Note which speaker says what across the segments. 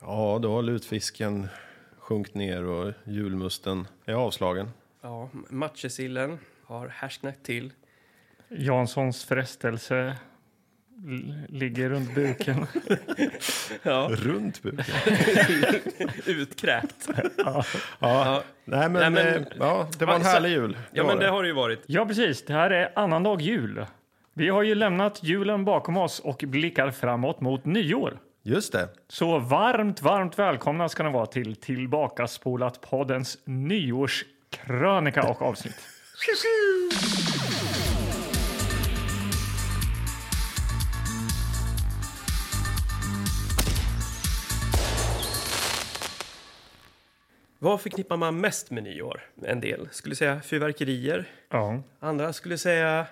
Speaker 1: Ja, då har lutfisken sjunkit ner och julmusten är avslagen.
Speaker 2: Ja, matjessillen har härsknat till.
Speaker 3: Janssons frestelse l- ligger runt buken.
Speaker 2: Ja,
Speaker 1: Runt buken.
Speaker 2: utkräkt.
Speaker 1: Ja.
Speaker 2: Ja.
Speaker 1: Nej, men,
Speaker 2: Nej, men-
Speaker 1: eh, ja, det var en
Speaker 2: Ja, så-
Speaker 1: härlig jul. Det
Speaker 2: ja,
Speaker 1: var
Speaker 2: men det har det ju varit.
Speaker 3: Ja, precis. Det här är annandag jul. Vi har ju lämnat julen bakom oss och blickar framåt mot nyår.
Speaker 1: Just det.
Speaker 3: Så varmt, varmt välkomna ska ni vara till Tillbakaspolat poddens nyårskrönika och avsnitt.
Speaker 2: Vad förknippar man mest med nyår? En del skulle säga fyrverkerier.
Speaker 3: Ja.
Speaker 2: Andra skulle säga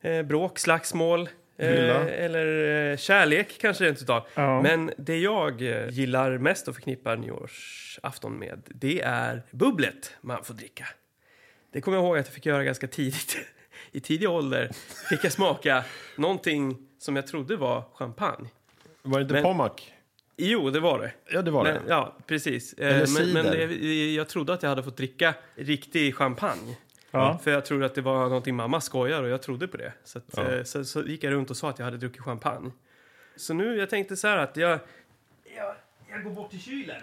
Speaker 2: eh, bråk, slagsmål. eh,
Speaker 1: Fylla.
Speaker 2: eller eh, kärlek kanske rent utav.
Speaker 3: Ja.
Speaker 2: Men det jag eh, gillar mest och förknippar nyårsafton med, det är bubblet man får dricka. Det kommer jag ihåg att jag fick göra ganska tidigt. I tidig ålder fick jag smaka någonting som jag trodde var champagne.
Speaker 1: Var det inte
Speaker 2: Men-
Speaker 1: Pommac?
Speaker 2: Jo, det var det.
Speaker 1: Ja, det var det.
Speaker 2: Men, ja, precis. Eh,
Speaker 1: Eller
Speaker 2: men men
Speaker 1: cider.
Speaker 2: det, jag trodde att jag hade fått dricka riktig champagne.
Speaker 3: Ja.
Speaker 2: För jag trodde att det var någonting mamma skojar och jag trodde på det. Så, att, eh, så, så gick jag runt och sa att jag hade druckit champagne. Så nu, jag tänkte så här att jag... Jag, jag går bort till kylen.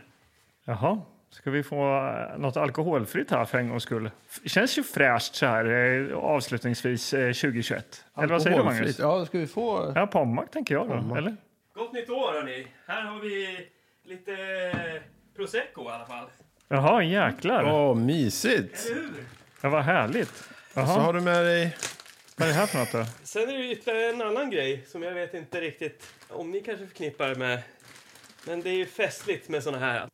Speaker 3: Jaha. Ska vi få eh, något alkoholfritt här för en gångs skull? F- Känns ju fräscht så här eh, avslutningsvis eh, 2021. Eller vad säger du Magnus?
Speaker 4: Alkoholfritt. Ja, ska vi få...
Speaker 3: Ja, Pommac tänker jag då. Eller?
Speaker 2: Gott nytt år hörni! Här har vi lite prosecco i alla fall.
Speaker 3: Jaha, jäklar.
Speaker 1: Åh, mysigt!
Speaker 3: Ja, vad härligt.
Speaker 1: Så
Speaker 3: Jaha,
Speaker 1: har du med dig...
Speaker 3: vad är det här för något då?
Speaker 2: Sen är det ju ytterligare en annan grej som jag vet inte riktigt om ni kanske förknippar med. Men det är ju festligt med såna här.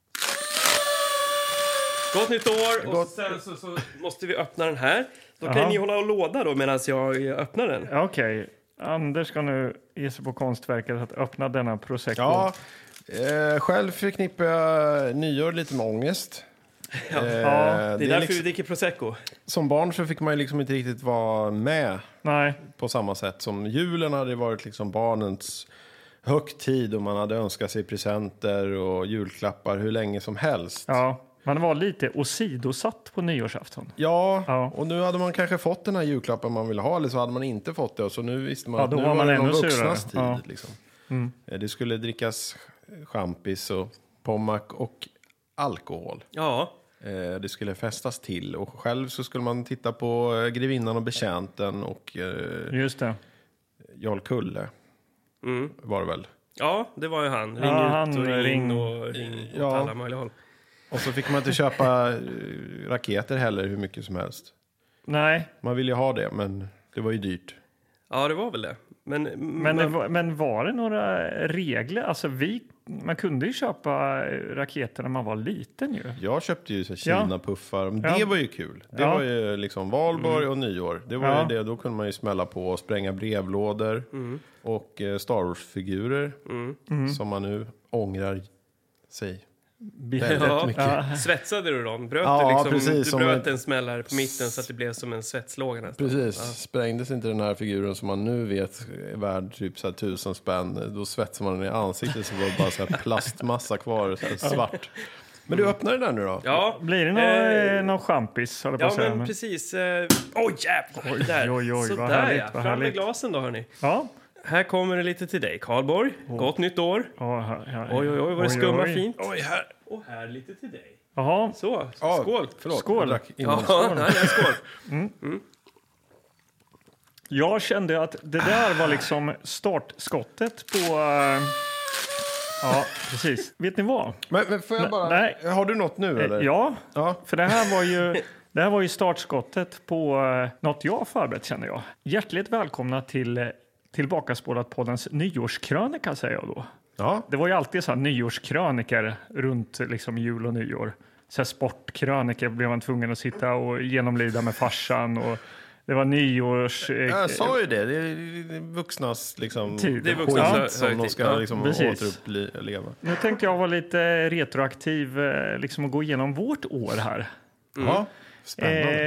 Speaker 2: Gott nytt år! Och
Speaker 1: Gott-
Speaker 2: sen så, så måste vi öppna den här. Då kan
Speaker 3: Jaha.
Speaker 2: ni hålla och låda då medan jag öppnar den.
Speaker 3: Ja, Okej, Anders ska nu ge sig på konstverket att öppna denna prosecco.
Speaker 1: Ja, eh, själv förknippar jag nyår lite med ångest. Eh,
Speaker 2: det
Speaker 3: är
Speaker 2: Det är,
Speaker 1: det är
Speaker 2: därför vi
Speaker 1: liksom,
Speaker 2: dricker prosecco.
Speaker 1: som barn så fick man ju liksom inte riktigt vara med
Speaker 3: Nej,
Speaker 1: på samma sätt som julen hade varit liksom barnens högtid och man hade önskat sig presenter och julklappar hur länge som helst.
Speaker 3: ja. Man var lite åsidosatt på nyårsafton.
Speaker 1: Ja,
Speaker 3: Ja.
Speaker 1: och nu hade man kanske fått den här julklappen man ville ha eller så hade man inte fått det och så nu visste man
Speaker 3: Ja,
Speaker 1: att
Speaker 3: då
Speaker 1: nu
Speaker 3: var
Speaker 1: var,
Speaker 3: man
Speaker 1: det
Speaker 3: ännu
Speaker 1: någon vuxnas tid.
Speaker 3: surare. Ja. Mm.
Speaker 1: Liksom. Eh, Det skulle drickas champis och pommac och alkohol.
Speaker 2: Ja,
Speaker 1: Eh, Det skulle festas till och själv så skulle man titta på eh, Grevinnan och Betjänten och eh,
Speaker 3: Just det.
Speaker 1: Jarl Kulle
Speaker 2: Mm.
Speaker 1: var det väl.
Speaker 2: ja det var ju han. Ring
Speaker 3: Ja,
Speaker 2: ut
Speaker 3: han
Speaker 2: och ring,
Speaker 3: ring-
Speaker 2: och ring åt
Speaker 1: Ja.
Speaker 2: alla möjliga håll.
Speaker 1: Och så fick man inte köpa eh, raketer heller hur mycket som helst.
Speaker 3: Nej,
Speaker 1: Man ville ju ha det men det var ju dyrt.
Speaker 2: Ja, det var väl det. Men,
Speaker 3: men, det var- men var det några regler? Alltså vi, man kunde ju köpa eh, raketer när man var liten ju.
Speaker 1: Jag köpte ju så här
Speaker 3: Ja.
Speaker 1: Kina-puffar. Men
Speaker 3: Ja.
Speaker 1: Det var ju kul. Det
Speaker 3: Ja.
Speaker 1: var ju liksom valborg och nyår. Det var
Speaker 3: Ja.
Speaker 1: ju det. Då kunde man ju smälla på och spränga brevlådor. Och eh, Star Wars-figurer.
Speaker 2: mm.
Speaker 3: Mm.
Speaker 1: Som man nu ångrar sig väldigt
Speaker 2: Ja.
Speaker 1: mycket.
Speaker 2: Svetsade du dem? Bröt
Speaker 1: Ja,
Speaker 2: du liksom,
Speaker 1: precis,
Speaker 2: du
Speaker 1: som
Speaker 2: bröt
Speaker 1: ett-
Speaker 2: en smällare på mitten så att det blev som en svetslåga nästan.
Speaker 1: Precis. Sprängdes inte den här figuren som man nu vet är värd typ så här tusen spänn. Då svetsar man den i ansiktet så var det bara så här plastmassa kvar. Så här svart. Men du öppnar den där nu då?
Speaker 2: Ja,
Speaker 3: Blir det någon,
Speaker 2: Eh,
Speaker 3: eh, någon champis? höll jag på
Speaker 2: Ja,
Speaker 3: att säga,
Speaker 2: men
Speaker 3: men-
Speaker 2: precis. eh, Oj, jävlar! Där.
Speaker 3: oj, oj, vad
Speaker 2: Sådär,
Speaker 3: härligt,
Speaker 2: ja.
Speaker 3: vad
Speaker 2: Fram med
Speaker 3: härligt.
Speaker 2: glasen då, hörni.
Speaker 3: ja.
Speaker 2: Här kommer det lite till dig, Karlborg. Gott nytt år.
Speaker 3: Ja, här- här-
Speaker 2: Oj, oj, oj, vad det skummar fint.
Speaker 1: Oj, här.
Speaker 2: Och här lite till dig.
Speaker 3: Jaha,
Speaker 2: Så,
Speaker 1: Ja,
Speaker 2: skål!
Speaker 1: Förlåt,
Speaker 3: Skål.
Speaker 1: jag drack innan.
Speaker 2: Ja, skål. Nej, nej, skål.
Speaker 3: Jag kände att det där
Speaker 1: Ah.
Speaker 3: var liksom startskottet på... eh, Ja, precis. Vet ni vad?
Speaker 1: Men, men får jag bara...
Speaker 3: nej.
Speaker 1: Har du något nu eller?
Speaker 3: Eh, Ja,
Speaker 1: Ja.
Speaker 3: för det här var ju, det här var ju startskottet på eh, något jag förberett känner jag. Hjärtligt välkomna till eh, Tillbakaspålat poddens nyårskrönika säger jag då.
Speaker 1: Ja,
Speaker 3: Det var ju alltid så här nyårskröniker runt liksom jul och nyår. Så här sportkröniker blev man tvungen att sitta och genomlida med farsan och det var nyårs... eh,
Speaker 1: jag sa ju det. Det är det är vuxnas liksom,
Speaker 3: Tid.
Speaker 2: Det är vuxnas
Speaker 1: skit
Speaker 2: hö-
Speaker 1: som de
Speaker 2: högtid.
Speaker 1: ska
Speaker 2: Ja,
Speaker 1: liksom,
Speaker 3: precis.
Speaker 1: återuppleva.
Speaker 3: Nu tänkte jag vara lite retroaktiv eh, liksom och gå igenom vårt år här. Mm.
Speaker 1: Ja, spännande.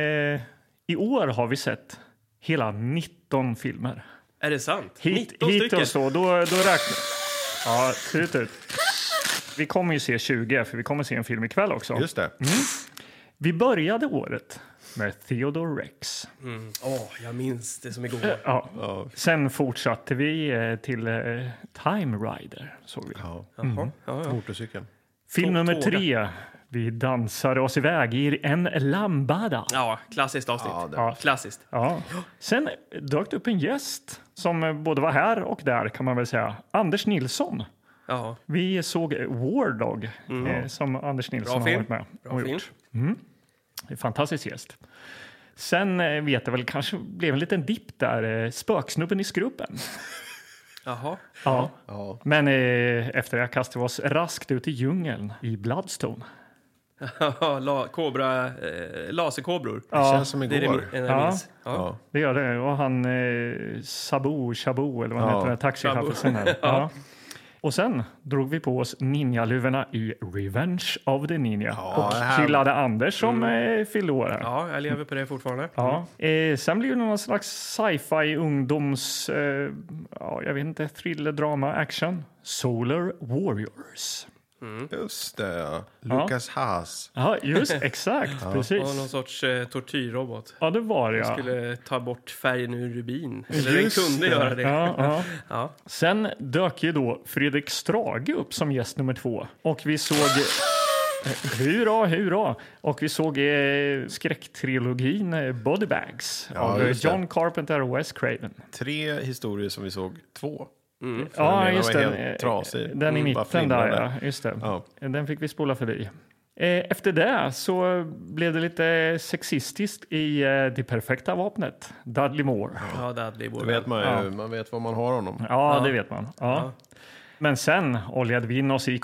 Speaker 3: Eh, I år har vi sett hela 19 filmer.
Speaker 2: Är det sant?
Speaker 3: Hit,
Speaker 2: 19
Speaker 3: hit
Speaker 2: stycken?
Speaker 3: och så, då, då räknar... Ja, tut ut. Vi kommer ju se 20, för vi kommer se en film ikväll också.
Speaker 1: Just det.
Speaker 3: mm. Vi började året med Theodore Rex.
Speaker 2: Åh, jag minns det som igår.
Speaker 3: Ja.
Speaker 1: Ja.
Speaker 3: Sen fortsatte vi eh, till eh, Time Rider. Såg vi.
Speaker 1: Ja.
Speaker 2: Jaha. Ja, ja.
Speaker 1: Motorcykeln.
Speaker 3: Film nummer
Speaker 2: Tåga.
Speaker 3: tre. Vi dansade oss iväg i en lambada.
Speaker 2: ja, klassiskt avsnitt.
Speaker 1: Ja, det-
Speaker 3: Ja.
Speaker 2: Klassiskt.
Speaker 3: Ja. Sen dök det upp en gäst som eh, både var här och där kan man väl säga. Anders Nilsson.
Speaker 2: Ja,
Speaker 3: Vi såg eh, War Dog eh, som Anders Nilsson har
Speaker 2: film.
Speaker 3: varit med
Speaker 2: Mm. bra
Speaker 3: och
Speaker 2: film.
Speaker 3: gjort. En Fantastisk gäst. Sen eh, vet jag väl, kanske blev en liten dipp där. eh, Spöksnubben i skrubben.
Speaker 2: Jaha.
Speaker 3: Ja.
Speaker 1: Ja.
Speaker 3: Men eh, efter det kastade vi oss raskt ut i djungeln i Bloodstone.
Speaker 2: La, kobra, eh, laserkobror.
Speaker 1: Det känns som
Speaker 2: Det är det
Speaker 1: igår.
Speaker 2: min- en jag
Speaker 3: Ja.
Speaker 2: minns. Ja.
Speaker 1: Ja.
Speaker 3: Det gör det. Och han eh, Sabu, Shabu eller vad han
Speaker 1: Ja.
Speaker 3: heter, den där taxichauffören. här. ja. Och sen drog vi på oss ninjaluvorna i Revenge of the Ninja.
Speaker 1: Ja, Mm. det
Speaker 3: och
Speaker 1: här-
Speaker 3: chillade Anders som eh, fyllde år här. Ja.
Speaker 2: ja, jag lever på det fortfarande.
Speaker 3: Eh, sen blev det någon slags sci-fi ungdoms... Eh, ja, jag vet inte, thriller, drama, action. Solar Warriors.
Speaker 1: Mm. Just det, ja. Lucas Haas.
Speaker 3: Ja, just exakt.
Speaker 2: Och någon
Speaker 3: Precis.
Speaker 2: sorts eh, tortyrrobot.
Speaker 3: Ja, det var det. Ja.
Speaker 2: Skulle ta bort färgen ur rubin. Eller den kunde göra det.
Speaker 3: Ja, ja.
Speaker 2: Ja.
Speaker 3: Sen dök ju då Fredrik Strage upp som gäst nummer två. Och vi såg... eh, Hurra, hurra! Och vi såg eh, skräcktrilogin eh, Body Bags av eh,
Speaker 1: just det.
Speaker 3: John Carpenter och Wes Craven.
Speaker 1: Tre historier som vi såg två. För den
Speaker 3: Mm. Ja,
Speaker 1: ena
Speaker 3: just
Speaker 1: var
Speaker 3: den.
Speaker 1: helt
Speaker 3: eh,
Speaker 1: trasig.
Speaker 3: Den i
Speaker 1: Mm, bara
Speaker 3: mitten där,
Speaker 1: flimrade.
Speaker 3: ja. Just det.
Speaker 1: Ja.
Speaker 3: Den fick vi spola förbi. Eh, Efter det så blev det lite sexistiskt i eh, Det perfekta vapnet, Dudley Moore.
Speaker 2: Ja, Dudley
Speaker 1: Då
Speaker 3: eh,
Speaker 2: Borg.
Speaker 1: vet man ju, man vet var man har honom.
Speaker 3: Ja, det vet man. Ja. Men sen oljade vi in oss i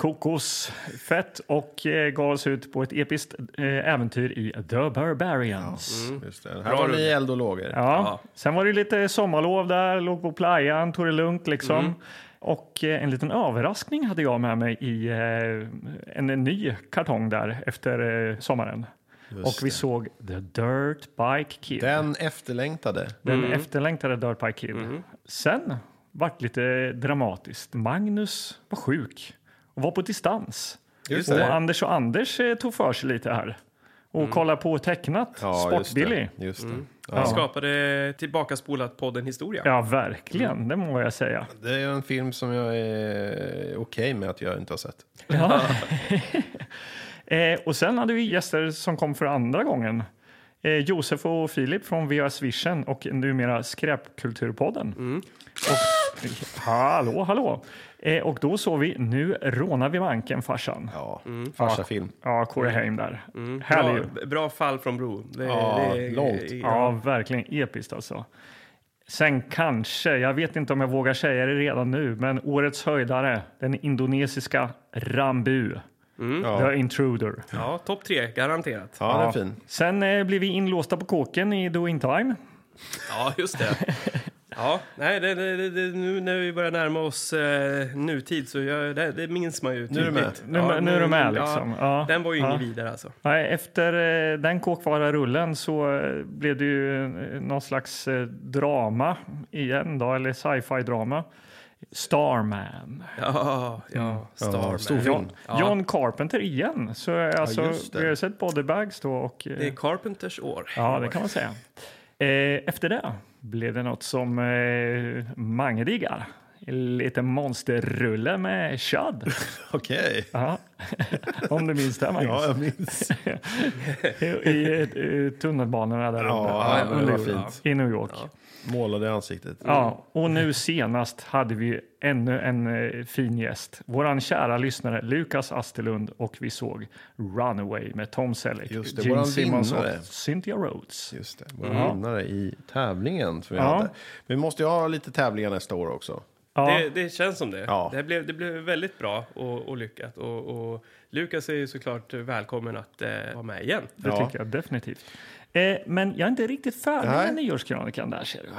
Speaker 3: kokosfett och eh, gav oss ut på ett episkt eh, äventyr i The Barbarians.
Speaker 2: Mm.
Speaker 1: Just det. Här var ni eld och lågor.
Speaker 3: Ja. Sen var det lite sommarlov där, låg på playan, tog det lugnt liksom. Och eh, en liten överraskning hade jag med mig i eh, en ny kartong där efter eh, sommaren. och vi såg The Dirt Bike Kid.
Speaker 1: Den efterlängtade.
Speaker 3: Den efterlängtade Dirt Bike Kid. Sen vart det lite dramatiskt. Magnus var sjuk och var på distans.
Speaker 1: Just
Speaker 3: och
Speaker 1: det.
Speaker 3: Anders och Anders eh, tog för sig lite här och kollade på tecknat
Speaker 1: Mm. just det.
Speaker 3: Sportbilly.
Speaker 1: Just det.
Speaker 2: Han
Speaker 1: Ja.
Speaker 2: skapade tillbakaspolat podden Historia.
Speaker 3: Ja, verkligen.
Speaker 1: Mm.
Speaker 3: Det må jag säga.
Speaker 1: Det är en film som jag är okej med att jag inte har sett.
Speaker 3: Eh, och sen hade vi gäster som kom för andra gången. Eh, Josef och Filip från VHS Vision och numera Skräpkulturpodden.
Speaker 1: Mm.
Speaker 3: Och, hallå, hallå! Eh, och då såg vi Nu rånar vi banken, farsan.
Speaker 1: Ja, farsafilm.
Speaker 3: Ja, Corey Haim där.
Speaker 1: Mm.
Speaker 3: Härlig ju.
Speaker 2: Bra, bra fall från bro. Det,
Speaker 1: Ja, långt.
Speaker 3: Ja, verkligen episkt alltså. Sen kanske, jag vet inte om jag vågar säga det redan nu, men årets höjdare, den indonesiska Rambu,
Speaker 1: Ja.
Speaker 3: The Intruder.
Speaker 2: Ja, topp tre, garanterat.
Speaker 1: ja, den är fin.
Speaker 3: Sen eh, blev vi inlåsta på kåken i Do In Time.
Speaker 2: Ja, just det. Ja, nej, det, det, det, det, nu när vi börjar närma oss eh, nutid så jag, det, det minns man ju
Speaker 1: Nu är du med.
Speaker 2: tydligt.
Speaker 3: Nu,
Speaker 2: Ja,
Speaker 3: nu är de med liksom. Ja.
Speaker 2: Ja, den var ju
Speaker 3: Ja.
Speaker 2: ingen vidare alltså.
Speaker 3: Nej, efter eh, den kåkvara rullen så eh, blev det ju eh, någon slags eh, drama igen då, eller sci-fi drama. Starman.
Speaker 2: Ja, ja, Starman.
Speaker 1: Ja, stor
Speaker 2: Ja,
Speaker 1: film.
Speaker 3: John Carpenter igen. Så eh, alltså,
Speaker 1: just det.
Speaker 3: vi har ju sett Body Bags då och... eh,
Speaker 2: Det är Carpenters år.
Speaker 3: Ja, det kan man säga. Eh, efter det blev det något som eh, Mange diggar. Lite monsterrulle med Chad.
Speaker 1: Okej.
Speaker 3: Ja, om du minns det, Magnus.
Speaker 1: Ja, jag minns.
Speaker 3: I, i, eh, tunnelbanorna där
Speaker 1: Ja,
Speaker 3: uppe.
Speaker 1: det var
Speaker 3: Under-
Speaker 1: fint.
Speaker 3: I New York. Ja.
Speaker 1: Målade i ansiktet.
Speaker 3: och nu senast hade vi ännu en eh, fin gäst. Vår kära lyssnare Lukas Astelund och vi såg Runaway med Tom Selleck,
Speaker 1: Just det,
Speaker 3: Gene
Speaker 1: våran
Speaker 3: Simmons och
Speaker 1: vinnare.
Speaker 3: Cynthia Rhodes.
Speaker 1: Just det, vår vinnare i tävlingen som vi
Speaker 3: Ja.
Speaker 1: hade. Vi måste ju ha lite tävlingar nästa år också.
Speaker 3: Ja,
Speaker 2: Det, det känns som det.
Speaker 1: Ja.
Speaker 2: Det, här blev, det blev väldigt bra och, och lyckat. Och, och Lukas är ju såklart välkommen att eh, vara med igen.
Speaker 3: det
Speaker 1: Ja.
Speaker 3: tycker jag definitivt. Eh, men jag är inte riktigt färdig
Speaker 1: Nej.
Speaker 3: med nyårskrönikan där ser du.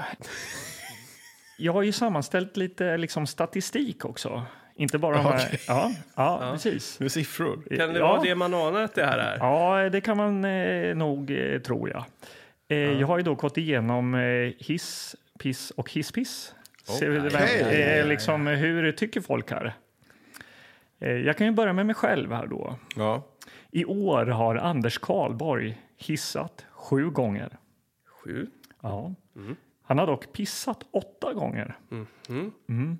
Speaker 3: Jag har ju sammanställt lite liksom, statistik också. Inte bara de här... Ja, ja, precis.
Speaker 1: Med siffror.
Speaker 2: Kan det
Speaker 3: ja.
Speaker 2: vara det man anar att det här är?
Speaker 3: Ja, det kan man eh, nog eh, tro, ja. Eh, Jag har ju då gått igenom eh, hiss, piss och hisspiss. Ser vi det väl?
Speaker 1: Okej.
Speaker 3: eh, liksom, hur tycker folk här? Eh, Jag kan ju börja med mig själv här då.
Speaker 1: Ja.
Speaker 3: I år har Anders Karlborg hissat sju gånger.
Speaker 2: Sju.
Speaker 3: Ja. Han har dock pissat åtta gånger.
Speaker 2: Mm.
Speaker 3: Mm.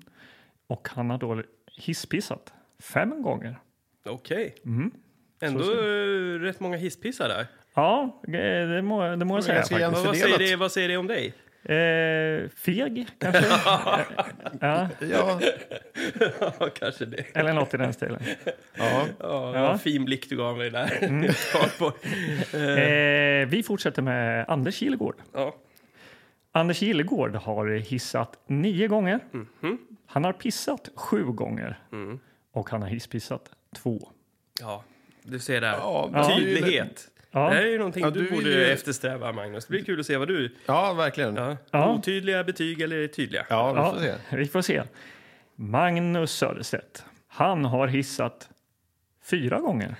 Speaker 3: Och han har då hisspissat fem gånger.
Speaker 2: Okej.
Speaker 3: Mm.
Speaker 2: Ändå
Speaker 3: Så
Speaker 2: eh, rätt många hisspissar där.
Speaker 3: Ja, eh, det må, det må jag säga
Speaker 1: ganska Men
Speaker 3: faktiskt.
Speaker 2: Vad, vad, säger
Speaker 1: fördelat.
Speaker 2: det, vad säger det om dig?
Speaker 3: Eh, feg, kanske? ja,
Speaker 1: Ja.
Speaker 2: Ja, kanske det.
Speaker 3: eller något i den stilen.
Speaker 1: ja.
Speaker 2: Ja,
Speaker 3: Ja.
Speaker 2: vad fin blick du gav mig där. Karlborg.
Speaker 3: Eh, vi fortsätter med Anders Kilegård.
Speaker 2: ja.
Speaker 3: Anders Gillegård har hissat nio gånger. Mm-hmm. Han har pissat sju gånger. Och han har hisspissat två.
Speaker 2: ja, du ser där.
Speaker 1: Ja, men det är ju-
Speaker 2: Tydlighet.
Speaker 3: Ja.
Speaker 2: Det här är ju någonting
Speaker 1: Ja,
Speaker 2: du,
Speaker 1: du vill
Speaker 2: borde
Speaker 1: ju-
Speaker 2: eftersträva, Magnus. Det blir kul att se vad du...
Speaker 1: ja, verkligen.
Speaker 2: Ja.
Speaker 3: Ja.
Speaker 2: Otydliga betyg eller tydliga?
Speaker 1: Ja, vi
Speaker 3: Ja,
Speaker 1: får se.
Speaker 3: vi får se. Magnus Söderstedt. Han har hissat fyra gånger.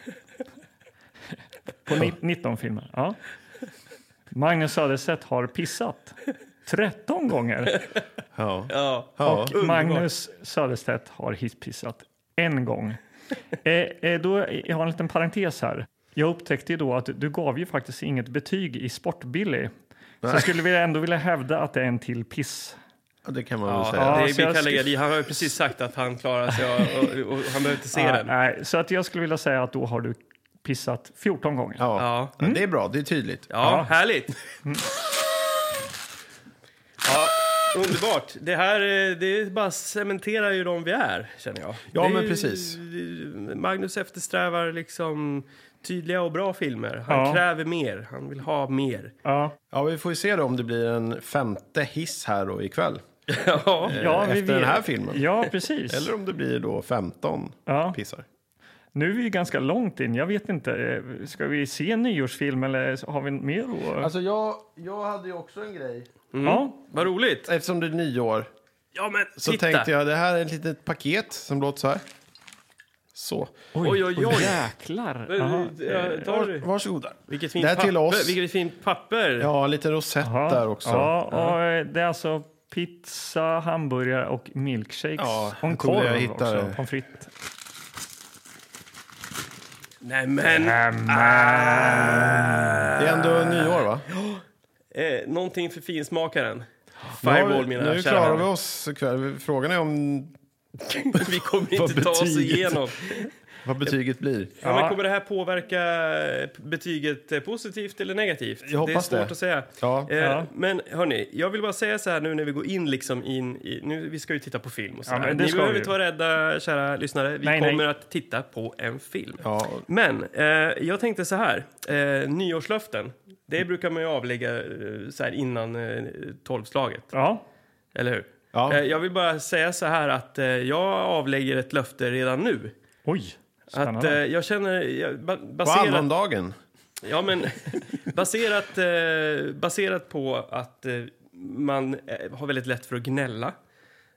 Speaker 3: På ni- 19 filmer. Ja. Magnus Söderstedt har pissat 13 gånger.
Speaker 1: Ja.
Speaker 2: Ja.
Speaker 1: Ja.
Speaker 3: Och Magnus Söderstedt har hisspissat en gång. Eh, eh, då, jag har en liten parentes här. Jag upptäckte ju då att du gav ju faktiskt inget betyg i Sportbilly. Så jag skulle vilja ändå vilja hävda att det är en till piss.
Speaker 1: Ja, det kan man väl
Speaker 2: Ja,
Speaker 1: säga.
Speaker 2: det
Speaker 3: Ja,
Speaker 2: är,
Speaker 3: så
Speaker 2: vi
Speaker 3: jag
Speaker 2: kan lägga
Speaker 3: sk-
Speaker 2: det. Han har ju precis sagt att han klarar sig och, och, och han behöver inte se
Speaker 3: Ah,
Speaker 2: den.
Speaker 3: nej, så att jag skulle vilja säga att då har du pissat 14 gånger.
Speaker 1: Ja.
Speaker 2: Ja.
Speaker 1: Ja, det är bra. Det är tydligt.
Speaker 2: Ja, härligt!
Speaker 3: Mm.
Speaker 2: Ja, underbart. Det här eh, det bara cementerar ju de vi är, känner jag.
Speaker 1: Ja,
Speaker 2: Det är
Speaker 1: men
Speaker 2: ju-
Speaker 1: precis.
Speaker 2: Magnus eftersträvar liksom tydliga och bra filmer. Han
Speaker 3: Ja.
Speaker 2: kräver mer, han vill ha mer.
Speaker 3: Ja,
Speaker 1: Ja, vi får ju se då om det blir en femte hiss här då ikväll.
Speaker 2: Ja,
Speaker 3: ja,
Speaker 1: Eh, efter
Speaker 3: vi
Speaker 1: den
Speaker 3: vet.
Speaker 1: här filmen.
Speaker 3: Ja, precis.
Speaker 1: Eller om det blir då 15
Speaker 3: Ja.
Speaker 1: pissar.
Speaker 3: Nu är vi ju ganska långt in. Jag vet inte. eh, Ska vi se en nyårsfilm eller har vi mer då?
Speaker 1: Alltså jag, jag hade ju också en grej.
Speaker 3: Ja,
Speaker 2: vad roligt!
Speaker 1: Eftersom det är nyår
Speaker 2: Ja, men
Speaker 1: så
Speaker 2: titta!
Speaker 1: tänkte jag det här är ett litet paket som låter så här. Så.
Speaker 2: Oj, oj, oj!
Speaker 3: jäklar. Jaha.
Speaker 2: Ja, tar du?
Speaker 1: Varsågoda.
Speaker 2: Vilket fint
Speaker 1: Eh, Det här till
Speaker 2: papper!
Speaker 1: oss.
Speaker 2: Vilket fint papper!
Speaker 1: Ja, lite rosett
Speaker 3: Ja,
Speaker 1: där också.
Speaker 3: Ja, och eh, det är alltså pizza, hamburgare och milkshakes.
Speaker 1: Ja,
Speaker 3: och en
Speaker 1: jag tror
Speaker 3: korv
Speaker 1: jag eh. hittar
Speaker 3: också,
Speaker 1: det.
Speaker 3: pommes frites.
Speaker 2: Nej, men...
Speaker 1: Det är ändå nyår va?
Speaker 2: Eh, någonting för finsmakaren.
Speaker 1: Nu har vi-
Speaker 2: Fireball, mina
Speaker 1: Nu
Speaker 2: kära
Speaker 1: klarar vi
Speaker 2: vänner.
Speaker 1: oss ikväll. Frågan är om
Speaker 2: Vi kommer inte
Speaker 1: Vad
Speaker 2: ta oss
Speaker 1: betyget?
Speaker 2: igenom.
Speaker 1: vad betyget blir.
Speaker 2: Ja.
Speaker 3: Ja.
Speaker 2: men kommer det här påverka eh, betyget eh, positivt eller negativt?
Speaker 1: Jag hoppas
Speaker 2: det är svårt
Speaker 1: det.
Speaker 2: att säga.
Speaker 1: Ja.
Speaker 2: Eh,
Speaker 3: Ja.
Speaker 2: Men hörni, jag vill bara säga så här nu när vi går in liksom in i... Nu, vi ska ju titta på film och så
Speaker 3: Ja,
Speaker 2: här.
Speaker 3: men det
Speaker 2: Ni
Speaker 3: ska
Speaker 2: behöver
Speaker 3: vi.
Speaker 2: inte vara rädda, kära lyssnare. Vi
Speaker 3: Nej, nej.
Speaker 2: kommer att titta på en film.
Speaker 1: Ja,
Speaker 2: Men eh, jag tänkte så här. Eh, nyårslöften, det brukar man ju avlägga eh, så här innan eh, tolvslaget.
Speaker 3: Ja,
Speaker 2: Eller hur?
Speaker 1: Ja.
Speaker 2: Eh, Jag vill bara säga så här att eh, jag avlägger ett löfte redan nu.
Speaker 3: oj.
Speaker 2: Att
Speaker 3: Spännande.
Speaker 2: eh, jag känner, jag- ba-
Speaker 1: på
Speaker 2: baserat,
Speaker 1: annandagen.
Speaker 2: ja, men, baserat, eh, baserat på att eh, man eh, har väldigt lätt för att gnälla.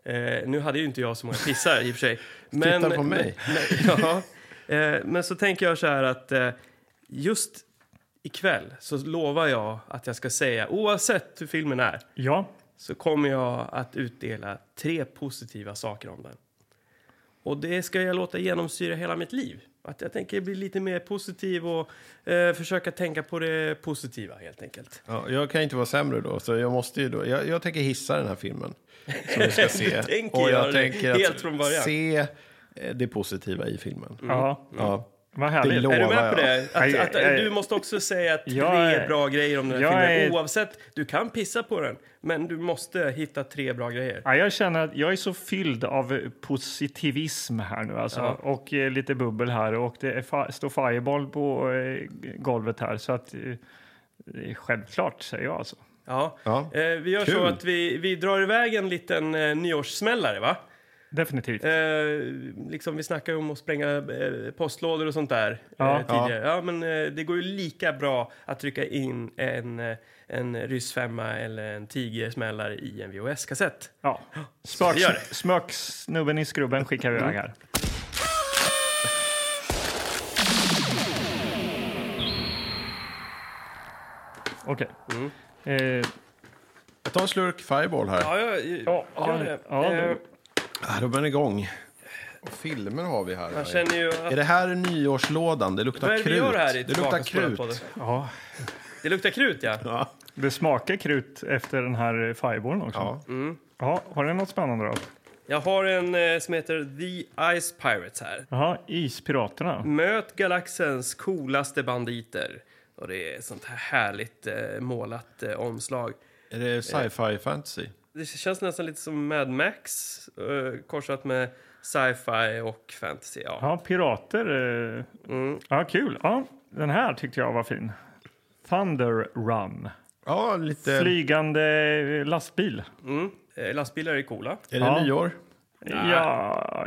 Speaker 2: Eh, nu hade ju inte jag så många pissar i och för sig. Men,
Speaker 1: Titta på mig.
Speaker 2: Men, ja, eh, men så tänker jag så här att eh, just ikväll så lovar jag att jag ska säga, oavsett hur filmen är,
Speaker 3: ja.
Speaker 2: så kommer jag att utdela tre positiva saker om den. Och det ska jag låta genomsyra hela mitt liv. Att jag tänker bli lite mer positiv och eh, försöka tänka på det positiva helt enkelt.
Speaker 1: Ja, jag kan inte vara sämre då, så jag måste ju då. Jag, jag tänker hissa den här filmen som vi ska se.
Speaker 2: tänker
Speaker 1: och
Speaker 2: göra det
Speaker 1: jag tänker att
Speaker 2: helt från början. Mm.
Speaker 1: se eh, det positiva i filmen.
Speaker 3: ja.
Speaker 1: Ja.
Speaker 3: Vad härligt.
Speaker 1: Mm. Det
Speaker 2: är du med
Speaker 1: lovar
Speaker 2: på
Speaker 1: jag.
Speaker 2: det? Att,
Speaker 3: Aj,
Speaker 2: att,
Speaker 3: aj, aj.
Speaker 2: du måste också säga tre
Speaker 3: Jag är-
Speaker 2: bra grejer om den här
Speaker 3: jag
Speaker 2: filmen.
Speaker 3: är-
Speaker 2: Oavsett, du kan pissa på den, men du måste hitta tre bra grejer.
Speaker 3: Ja, jag känner att jag är så fylld av eh, positivism här nu alltså.
Speaker 2: Ja.
Speaker 3: och eh, lite bubbel här och det är fa- står fireball på eh, golvet här så att eh, det är självklart säger jag alltså.
Speaker 2: Ja.
Speaker 1: Ja.
Speaker 2: Eh, vi gör så
Speaker 1: Kul.
Speaker 2: att vi, vi drar iväg en liten eh, nyårssmällare, va?
Speaker 3: Definitivt.
Speaker 2: Eh, liksom vi snackade om att spränga eh, postlådor och sånt där
Speaker 3: Ja.
Speaker 2: eh, tidigare. Ja. men eh, det går ju lika bra att trycka in en, eh, en ryssfemma eller en tigersmällare i en VHS-kassett.
Speaker 3: Ja.
Speaker 2: vi gör det.
Speaker 3: Smöks, smöksnubben i skrubben skickar vi iväg här. Okej.
Speaker 2: Mm.
Speaker 3: Eh,
Speaker 1: Jag tar en slurk Fireball här.
Speaker 2: Ja, ja, ja,
Speaker 3: ja,
Speaker 2: gör eh, det.
Speaker 3: ja,
Speaker 2: Eh,
Speaker 1: Ah, då är den igång. Och filmer har vi här.
Speaker 2: Man känner ju att...
Speaker 1: Är det här nyårslådan? Det luktar
Speaker 2: Vad är det
Speaker 1: krut.
Speaker 2: vi gör här i
Speaker 1: det luktar
Speaker 2: Tillbakaspolad
Speaker 1: krut.
Speaker 2: podden?
Speaker 3: Ja,
Speaker 2: Det luktar krut, ja.
Speaker 1: Ja.
Speaker 3: det smakar krut efter den här eh, fireballen också.
Speaker 1: Ja.
Speaker 3: Ja.
Speaker 2: Mm.
Speaker 3: har du något spännande då?
Speaker 2: Jag har en eh, som heter The Ice Pirates här.
Speaker 3: Jaha,
Speaker 2: Mm.
Speaker 3: Ispiraterna.
Speaker 2: Möt galaxens coolaste banditer. Och det är ett sånt här härligt eh, målat eh, omslag.
Speaker 1: Är det sci-fi fantasy?
Speaker 2: Det känns nästan lite som Mad Max eh, korsat med sci-fi och fantasy. Ja.
Speaker 3: Ja, pirater. eh,
Speaker 2: Mm.
Speaker 3: Ja, kul. Ja, den här tyckte jag var fin. Thunder Run.
Speaker 1: Ja, lite...
Speaker 3: Flygande lastbil.
Speaker 2: Mm. Eh, Lastbilar är coola.
Speaker 1: Är det
Speaker 3: Ja.
Speaker 1: nyår?
Speaker 3: Ja,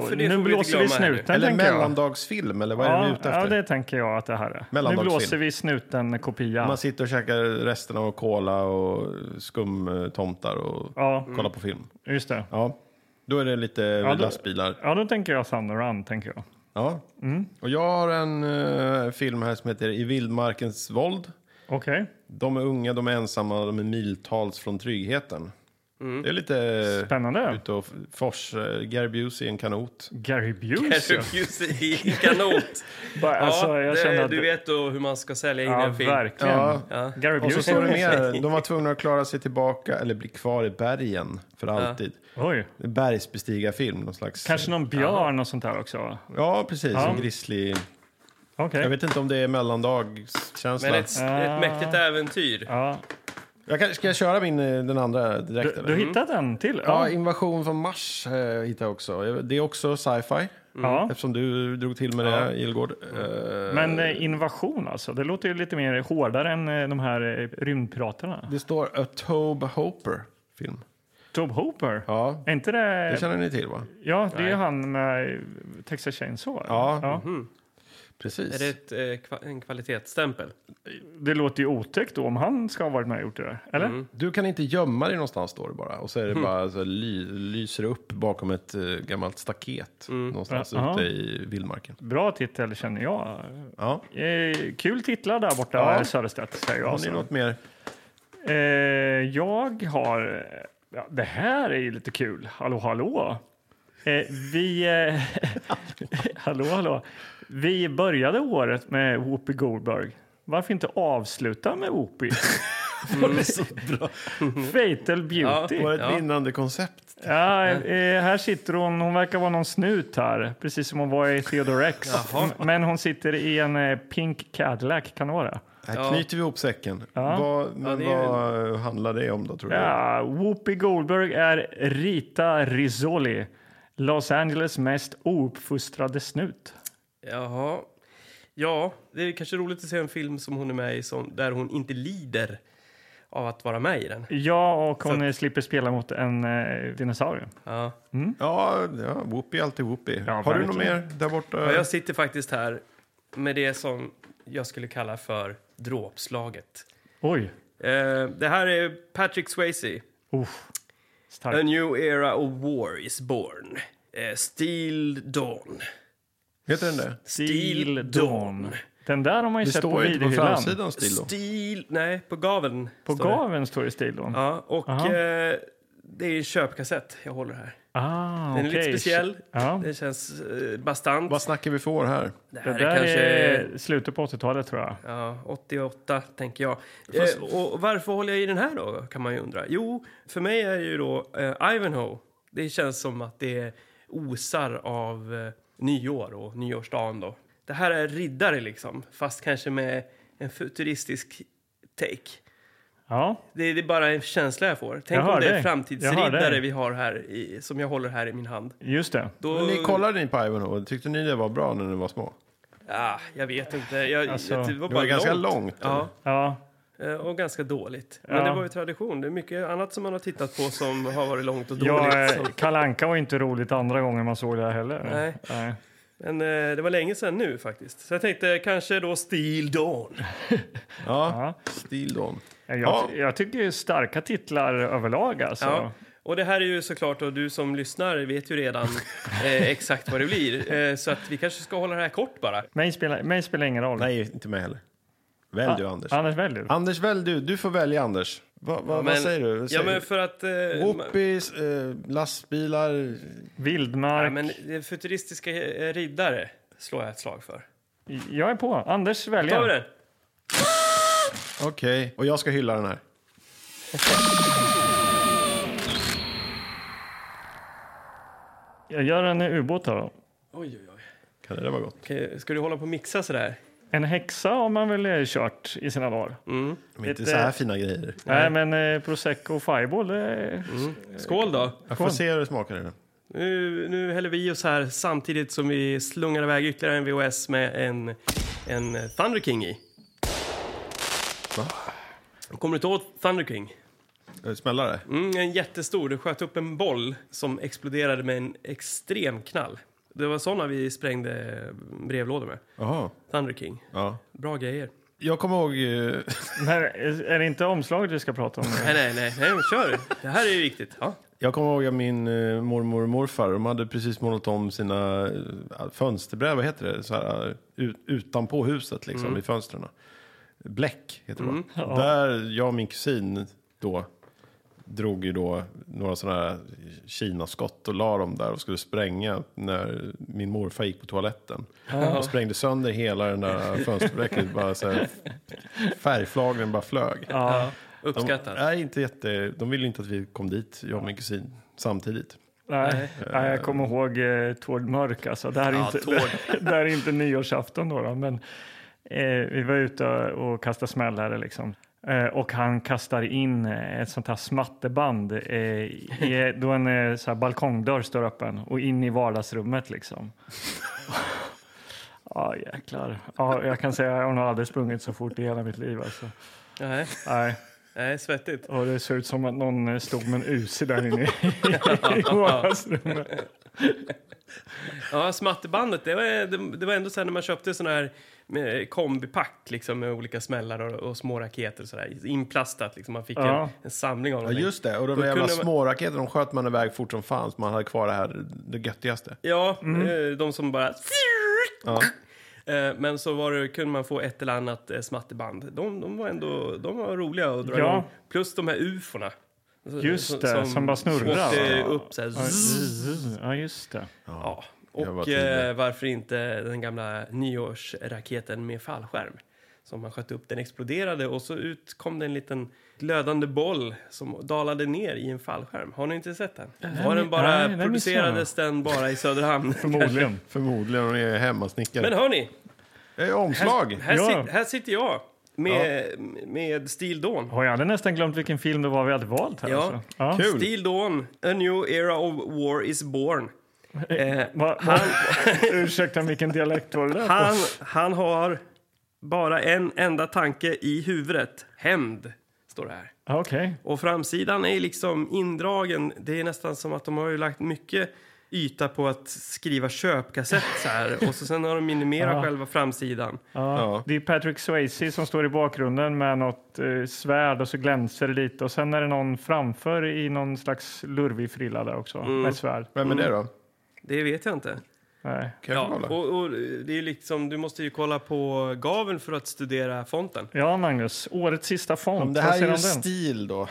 Speaker 2: för det får vi
Speaker 3: nu
Speaker 2: inte
Speaker 3: blåser vi
Speaker 2: glömma här nu.
Speaker 3: snuten,
Speaker 1: Eller
Speaker 3: tänker jag.
Speaker 1: mellandagsfilm, eller vad är vi
Speaker 3: Ja,
Speaker 1: ute efter?
Speaker 3: ja, det tänker jag att det här är. Nu
Speaker 1: Mellandagsfilm.
Speaker 3: blåser vi snuten-kopia.
Speaker 1: Man sitter och käkar resterna av cola och skumtomtar och
Speaker 3: Ja,
Speaker 1: kollar på film.
Speaker 3: just det.
Speaker 1: Ja, då är det lite
Speaker 3: då-
Speaker 1: lastbilar.
Speaker 3: Mm. Ja, då tänker jag Thunder Run, tänker jag.
Speaker 1: Ja.
Speaker 3: Mm.
Speaker 1: Och jag har en eh, film här som heter I vildmarkens våld.
Speaker 3: Okej.
Speaker 1: De är unga, de är ensamma, de är miltals från tryggheten. Det är lite
Speaker 3: Mm. Spännande.
Speaker 1: ute och fors. eh, Gary Busey i en kanot.
Speaker 3: Gary Busey.
Speaker 2: Kanske ljus i kanot.
Speaker 3: Bara, alltså,
Speaker 2: ja,
Speaker 3: jag
Speaker 2: det,
Speaker 3: känner att...
Speaker 2: du vet då hur man ska sälja in
Speaker 3: ja,
Speaker 2: en film.
Speaker 3: verkligen. Alltså.
Speaker 1: Ja.
Speaker 2: Ja.
Speaker 3: Gary
Speaker 1: Och så
Speaker 3: Busey.
Speaker 1: står det mer, de var tvungna att klara sig tillbaka eller bli kvar i bergen för alltid.
Speaker 3: Oj.
Speaker 1: Bergsbestigarfilm, någon slags.
Speaker 3: Kanske någon björn och sånt där också.
Speaker 1: Ja, precis.
Speaker 3: Ja.
Speaker 1: En grizzly.
Speaker 3: Okej.
Speaker 1: Jag vet inte om det är mellandagskänsla.
Speaker 2: Men ett,
Speaker 3: Eh.
Speaker 2: ett mäktigt äventyr.
Speaker 3: Ja.
Speaker 1: Jag kan, ska jag köra min, eh, den andra direkt?
Speaker 3: Du,
Speaker 1: eller? Mm.
Speaker 3: du hittat en till?
Speaker 1: Ja,
Speaker 3: Ja.
Speaker 1: Invasion från Mars eh, hittade jag också. Jag- Det är också sci-fi.
Speaker 3: ja.
Speaker 1: Eftersom du drog till med det, Ilgård. Eh,
Speaker 3: Men eh, invasion alltså. Det låter ju lite mer hårdare än eh, de här eh, rymdpiraterna.
Speaker 1: Det står A Tobe Hopper film.
Speaker 3: Tob Hooper.
Speaker 1: Ja,
Speaker 3: Är inte det...
Speaker 1: det känner ni till va?
Speaker 3: Ja, det är ju han med Texas Chainsaw.
Speaker 1: Ja.
Speaker 3: ja.
Speaker 1: Precis.
Speaker 2: Mhm. Är det ett, eh, kva- en kvalitetsstämpel?
Speaker 3: Det låter ju otäckt då om han ska ha varit med och gjort det där. Eller?
Speaker 2: Mm.
Speaker 1: Du kan inte gömma dig någonstans står det bara. Och så är det bara så här, ly, lyser det upp bakom ett eh, gammalt staket. Någonstans
Speaker 3: Ja,
Speaker 1: ute
Speaker 3: ja.
Speaker 1: i vildmarken.
Speaker 3: Bra titel känner jag.
Speaker 1: Ja.
Speaker 3: Eh, kul titlar där borta,
Speaker 1: Ja.
Speaker 3: Söderstedt, säger jag.
Speaker 1: Har ni
Speaker 3: alltså.
Speaker 1: något mer?
Speaker 3: Eh, jag har... Ja, det här är ju lite kul. Hallå, hallå! Eh, vi... Eh, hallå, hallå! Vi började året med Whoopi Goldberg. Varför inte avsluta med Whoopi? Fatal Beauty.
Speaker 1: Var det ett
Speaker 2: Ja.
Speaker 1: vinnande koncept?
Speaker 3: Ja, eh, här sitter hon. Hon verkar vara någon snut här, precis som hon var i Theodore X. Men hon sitter i en eh, pink Cadillac, kan det vara det?
Speaker 1: Här
Speaker 2: Ja.
Speaker 1: knyter vi ihop säcken. Vad, men
Speaker 2: det är ju-
Speaker 1: vad handlar det om då tror du?
Speaker 3: Ja, Whoopi Goldberg är Rita Rizzoli, Los Angeles mest ouppfostrade snut.
Speaker 2: Jaha. Ja, det är kanske roligt att se en film som hon är med i som, där hon inte lider av att vara med i den.
Speaker 3: Ja, och hon
Speaker 2: Så-
Speaker 3: eh, slipper spela mot en eh, dinosaurie.
Speaker 2: Ja.
Speaker 1: Ja, ja Whoopi är alltid Whoopi.
Speaker 3: Ja,
Speaker 1: Har du något
Speaker 3: verkligen.
Speaker 1: mer där borta?
Speaker 2: Och jag sitter faktiskt här med det som jag skulle kalla för dråpslaget.
Speaker 3: Oj,
Speaker 2: Eh, det här är Patrick Swayze.
Speaker 3: uff.
Speaker 2: A
Speaker 3: Starkt.
Speaker 2: new era of war is born. Eh, Steel Dawn.
Speaker 1: Heter den det?
Speaker 3: Steel Dawn. Den där har man ju
Speaker 1: Det
Speaker 3: sett på
Speaker 1: står ju inte på
Speaker 3: videohyllan.
Speaker 1: framsidan stil då.
Speaker 2: Steel... Nej, på gaveln.
Speaker 3: På
Speaker 2: står det.
Speaker 3: gaveln står det Steel Dawn.
Speaker 2: Ja, och
Speaker 3: Aha.
Speaker 2: eh, det är en köpkassett jag håller här.
Speaker 3: Ah,
Speaker 2: Den är lite
Speaker 3: okej.
Speaker 2: speciell.
Speaker 3: Ja.
Speaker 2: Den känns eh, bastant.
Speaker 1: Vad snackar vi för år här?
Speaker 2: Det
Speaker 3: Det
Speaker 2: här är
Speaker 3: där
Speaker 2: kanske
Speaker 3: är slutet på 80-talet tror jag.
Speaker 2: Ja, 88 tänker jag. Eh, och varför håller jag i den här då, kan man ju undra. Jo, för mig är ju då eh, Ivanhoe. Det känns som att det osar av eh, nyår och nyårsdagen då. Det här är riddare liksom, fast kanske med en futuristisk take.
Speaker 3: Ja,
Speaker 2: Det, det är bara en känsla jag får. Tänk
Speaker 3: Jag hör
Speaker 2: om det är
Speaker 3: dig. Jag hör
Speaker 2: framtidsriddare
Speaker 3: dig.
Speaker 2: vi har här, i, som jag håller här i min hand.
Speaker 3: just det.
Speaker 2: Då,
Speaker 1: Men Ni kollade ni på Ivanhoe? Tyckte ni det var bra när ni var små?
Speaker 2: Ja, Ah, jag vet inte. Jag,
Speaker 3: Alltså,
Speaker 2: jag, det var
Speaker 1: Det
Speaker 2: bara
Speaker 1: var ganska
Speaker 2: långt.
Speaker 1: långt. eller?
Speaker 2: Ja.
Speaker 3: Ja,
Speaker 2: Eh, Och ganska dåligt. Men
Speaker 3: Ja.
Speaker 2: det var ju tradition. Det är mycket annat som man har tittat på som har varit långt och dåligt.
Speaker 3: Ja, eh,
Speaker 2: Som,
Speaker 3: Kalle Anka var ju inte roligt andra gången man såg det här heller.
Speaker 2: Nej.
Speaker 3: Nej.
Speaker 2: men eh, det var länge sedan nu faktiskt. Så jag tänkte kanske då Steel Dawn.
Speaker 1: ja.
Speaker 3: Ja.
Speaker 1: Stil då.
Speaker 3: Jag,
Speaker 1: Ja.
Speaker 3: jag tycker ju starka titlar överlag alltså.
Speaker 2: Ja. Och det här är ju såklart, och du som lyssnar vet ju redan eh, exakt vad det blir. Eh, så att vi kanske ska hålla det här kort bara.
Speaker 3: Mig, spelar, mig spelar ingen roll.
Speaker 1: Nej, inte mig heller. Välj du, Anders.
Speaker 3: Anders, välj du.
Speaker 1: Anders, välj du. Du får välja, Anders. Va, va,
Speaker 2: Men-
Speaker 1: vad säger du? Vad
Speaker 2: Ja,
Speaker 1: säger
Speaker 2: men
Speaker 1: du?
Speaker 2: för att... eh,
Speaker 1: Whoopies, eh, lastbilar...
Speaker 3: Vildmark.
Speaker 2: Nej, men det är futuristiska eh, riddare slår jag ett slag för.
Speaker 3: Jag är på. Anders
Speaker 2: Tar vi
Speaker 3: väljer.
Speaker 2: den?
Speaker 1: Okej. Och jag ska hylla den här.
Speaker 3: Jag gör en ubåt här då.
Speaker 2: Oj, oj, oj.
Speaker 1: Kan det där vara gott?
Speaker 2: Okej, ska du hålla på och mixa sådär?
Speaker 3: En häxa har man väl eh, kört i sina dagar.
Speaker 2: Mm.
Speaker 1: Men inte
Speaker 3: Ett,
Speaker 1: så här
Speaker 3: eh,
Speaker 1: fina grejer.
Speaker 3: Nej, men eh, prosecco och fireball. Eh,
Speaker 2: Skål då!
Speaker 1: Jag får se hur det smakar. i den.
Speaker 2: Nu, nu häller vi i oss här samtidigt som vi slungar iväg ytterligare en VOS med en, en Thunder King i. Kommer du inte åt Thunder King?
Speaker 1: Eh, Smällare?
Speaker 2: Mm, en jättestor. Du sköt upp en boll som exploderade med en extrem knall. Det var såna vi sprängde brevlådor med.
Speaker 1: Jaha.
Speaker 2: Thunder King.
Speaker 1: Ja.
Speaker 2: Bra grejer.
Speaker 1: Jag kommer ihåg... eh,
Speaker 3: Men är det inte omslaget vi ska prata om?
Speaker 2: Nej, nej, nej, nej men kör. Det här är ju viktigt. Ja.
Speaker 1: Jag kommer ihåg att min eh, mormor och morfar, de hade precis målat om sina eh, fönsterbrädor, vad heter det? Så här, eh, ut, utanpå huset liksom, i fönstren. Bläck heter det va?
Speaker 3: ja.
Speaker 1: Där jag och min kusin då drog ju då några sådana här kinaskott och la dem där och skulle spränga när min morfar gick på toaletten. Och sprängde sönder hela den där fönsterbräcket, bara så här, färgflagren bara flög.
Speaker 3: Ja.
Speaker 2: Uppskattat.
Speaker 1: De, nej, inte jätte, de ville inte att vi kom dit, jag och min kusin, samtidigt.
Speaker 3: Nej, nej, jag kommer ihåg eh, Tord Mörk. Alltså. Det, här är
Speaker 2: Ja,
Speaker 3: inte,
Speaker 2: Tord.
Speaker 3: det, här är inte nyårsafton. Då, då, men, eh, vi var ute och kastade smällare. Liksom. Eh, och han kastar in eh, ett sånt här smatterband eh, i, då en eh, så här, balkongdörr står öppen och in i vardagsrummet. Liksom. Ja, jäklar. Ja, jag kan säga att jag har nog aldrig sprungit så fort i hela mitt liv. Alltså.
Speaker 2: Nej,
Speaker 3: Nej.
Speaker 2: nej, svettigt.
Speaker 3: Och det ser ut som att någon eh, stod med en UC där inne i- i vardagsrummet.
Speaker 2: Ja, smatterbandet, det var, det, det var ändå så här när man köpte sån här med kombipack liksom, med olika smällar och, och små raketer och sådär. Inplastat liksom, man fick
Speaker 3: Ja.
Speaker 2: en, en samling av
Speaker 1: Ja,
Speaker 2: dem.
Speaker 1: just det. Och de
Speaker 2: Då
Speaker 1: där jävla
Speaker 2: kunde man-
Speaker 1: småraketerna, de sköt man iväg fort som fan, så man hade kvar det här, det göttigaste.
Speaker 2: Ja,
Speaker 3: Mm.
Speaker 2: eh, de som bara...
Speaker 1: Ja.
Speaker 2: Eh, Men så var det, kunde man få ett eller annat eh, smatterband. De, de var ändå de var roliga att dra
Speaker 3: Ja.
Speaker 2: igång. Plus de här ufona.
Speaker 3: Just det, som bara snurrar,
Speaker 2: åkte
Speaker 3: va?
Speaker 2: upp så här.
Speaker 3: Ja,
Speaker 2: zzz.
Speaker 3: zzz, Ja, just det.
Speaker 2: Ja.
Speaker 1: Jag var
Speaker 2: Och
Speaker 1: tidig.
Speaker 2: eh, varför inte den gamla nyårsraketen med fallskärm? Som man sköt upp. Den exploderade och så ut kom det en liten glödande boll som dalade ner i en fallskärm. Har ni inte sett den? Var den bara,
Speaker 3: nej, den
Speaker 2: producerades den bara i Söderhamn?
Speaker 3: Förmodligen.
Speaker 1: Förmodligen, de är hemmasnickare.
Speaker 2: Men hörni,
Speaker 1: Eh, Omslag!
Speaker 2: här,
Speaker 3: Ja.
Speaker 2: sit, här sitter jag med, med Steel Dawn.
Speaker 3: Har jag hade nästan glömt vilken film det var vi hade valt här.
Speaker 2: Ja.
Speaker 3: Alltså. Ja.
Speaker 1: Kul.
Speaker 2: Steel Dawn, A New Era of War is Born. Eh,
Speaker 3: Va, va, ursäkta, vilken dialekt var det där
Speaker 2: Han,
Speaker 3: på?
Speaker 2: han har bara en enda tanke i huvudet. Hämnd, står det här.
Speaker 3: Ja, Okej.
Speaker 2: Och framsidan är liksom indragen. Det är nästan som att de har ju lagt mycket yta på att skriva köpkassett så här. Och så sen har de minimerat
Speaker 3: Ja.
Speaker 2: själva framsidan.
Speaker 3: Ja.
Speaker 1: Ja.
Speaker 3: Det är Patrick Swayze som står i bakgrunden med något eh, svärd och så glänser det lite. Och sen är det någon framför i någon slags lurvig frilla där också
Speaker 1: Mm.
Speaker 3: med ett svärd.
Speaker 1: Vem är det då?
Speaker 2: Det vet jag inte.
Speaker 3: Nej.
Speaker 1: Kan jag
Speaker 2: Ja,
Speaker 1: få kolla?
Speaker 2: och, och det är ju liksom, du måste ju kolla på gaveln för att studera fonten.
Speaker 3: Ja, Magnus. Årets sista font.
Speaker 1: Om det
Speaker 3: Vad
Speaker 1: här
Speaker 3: säger
Speaker 1: är ju
Speaker 3: du om den?
Speaker 1: stil då.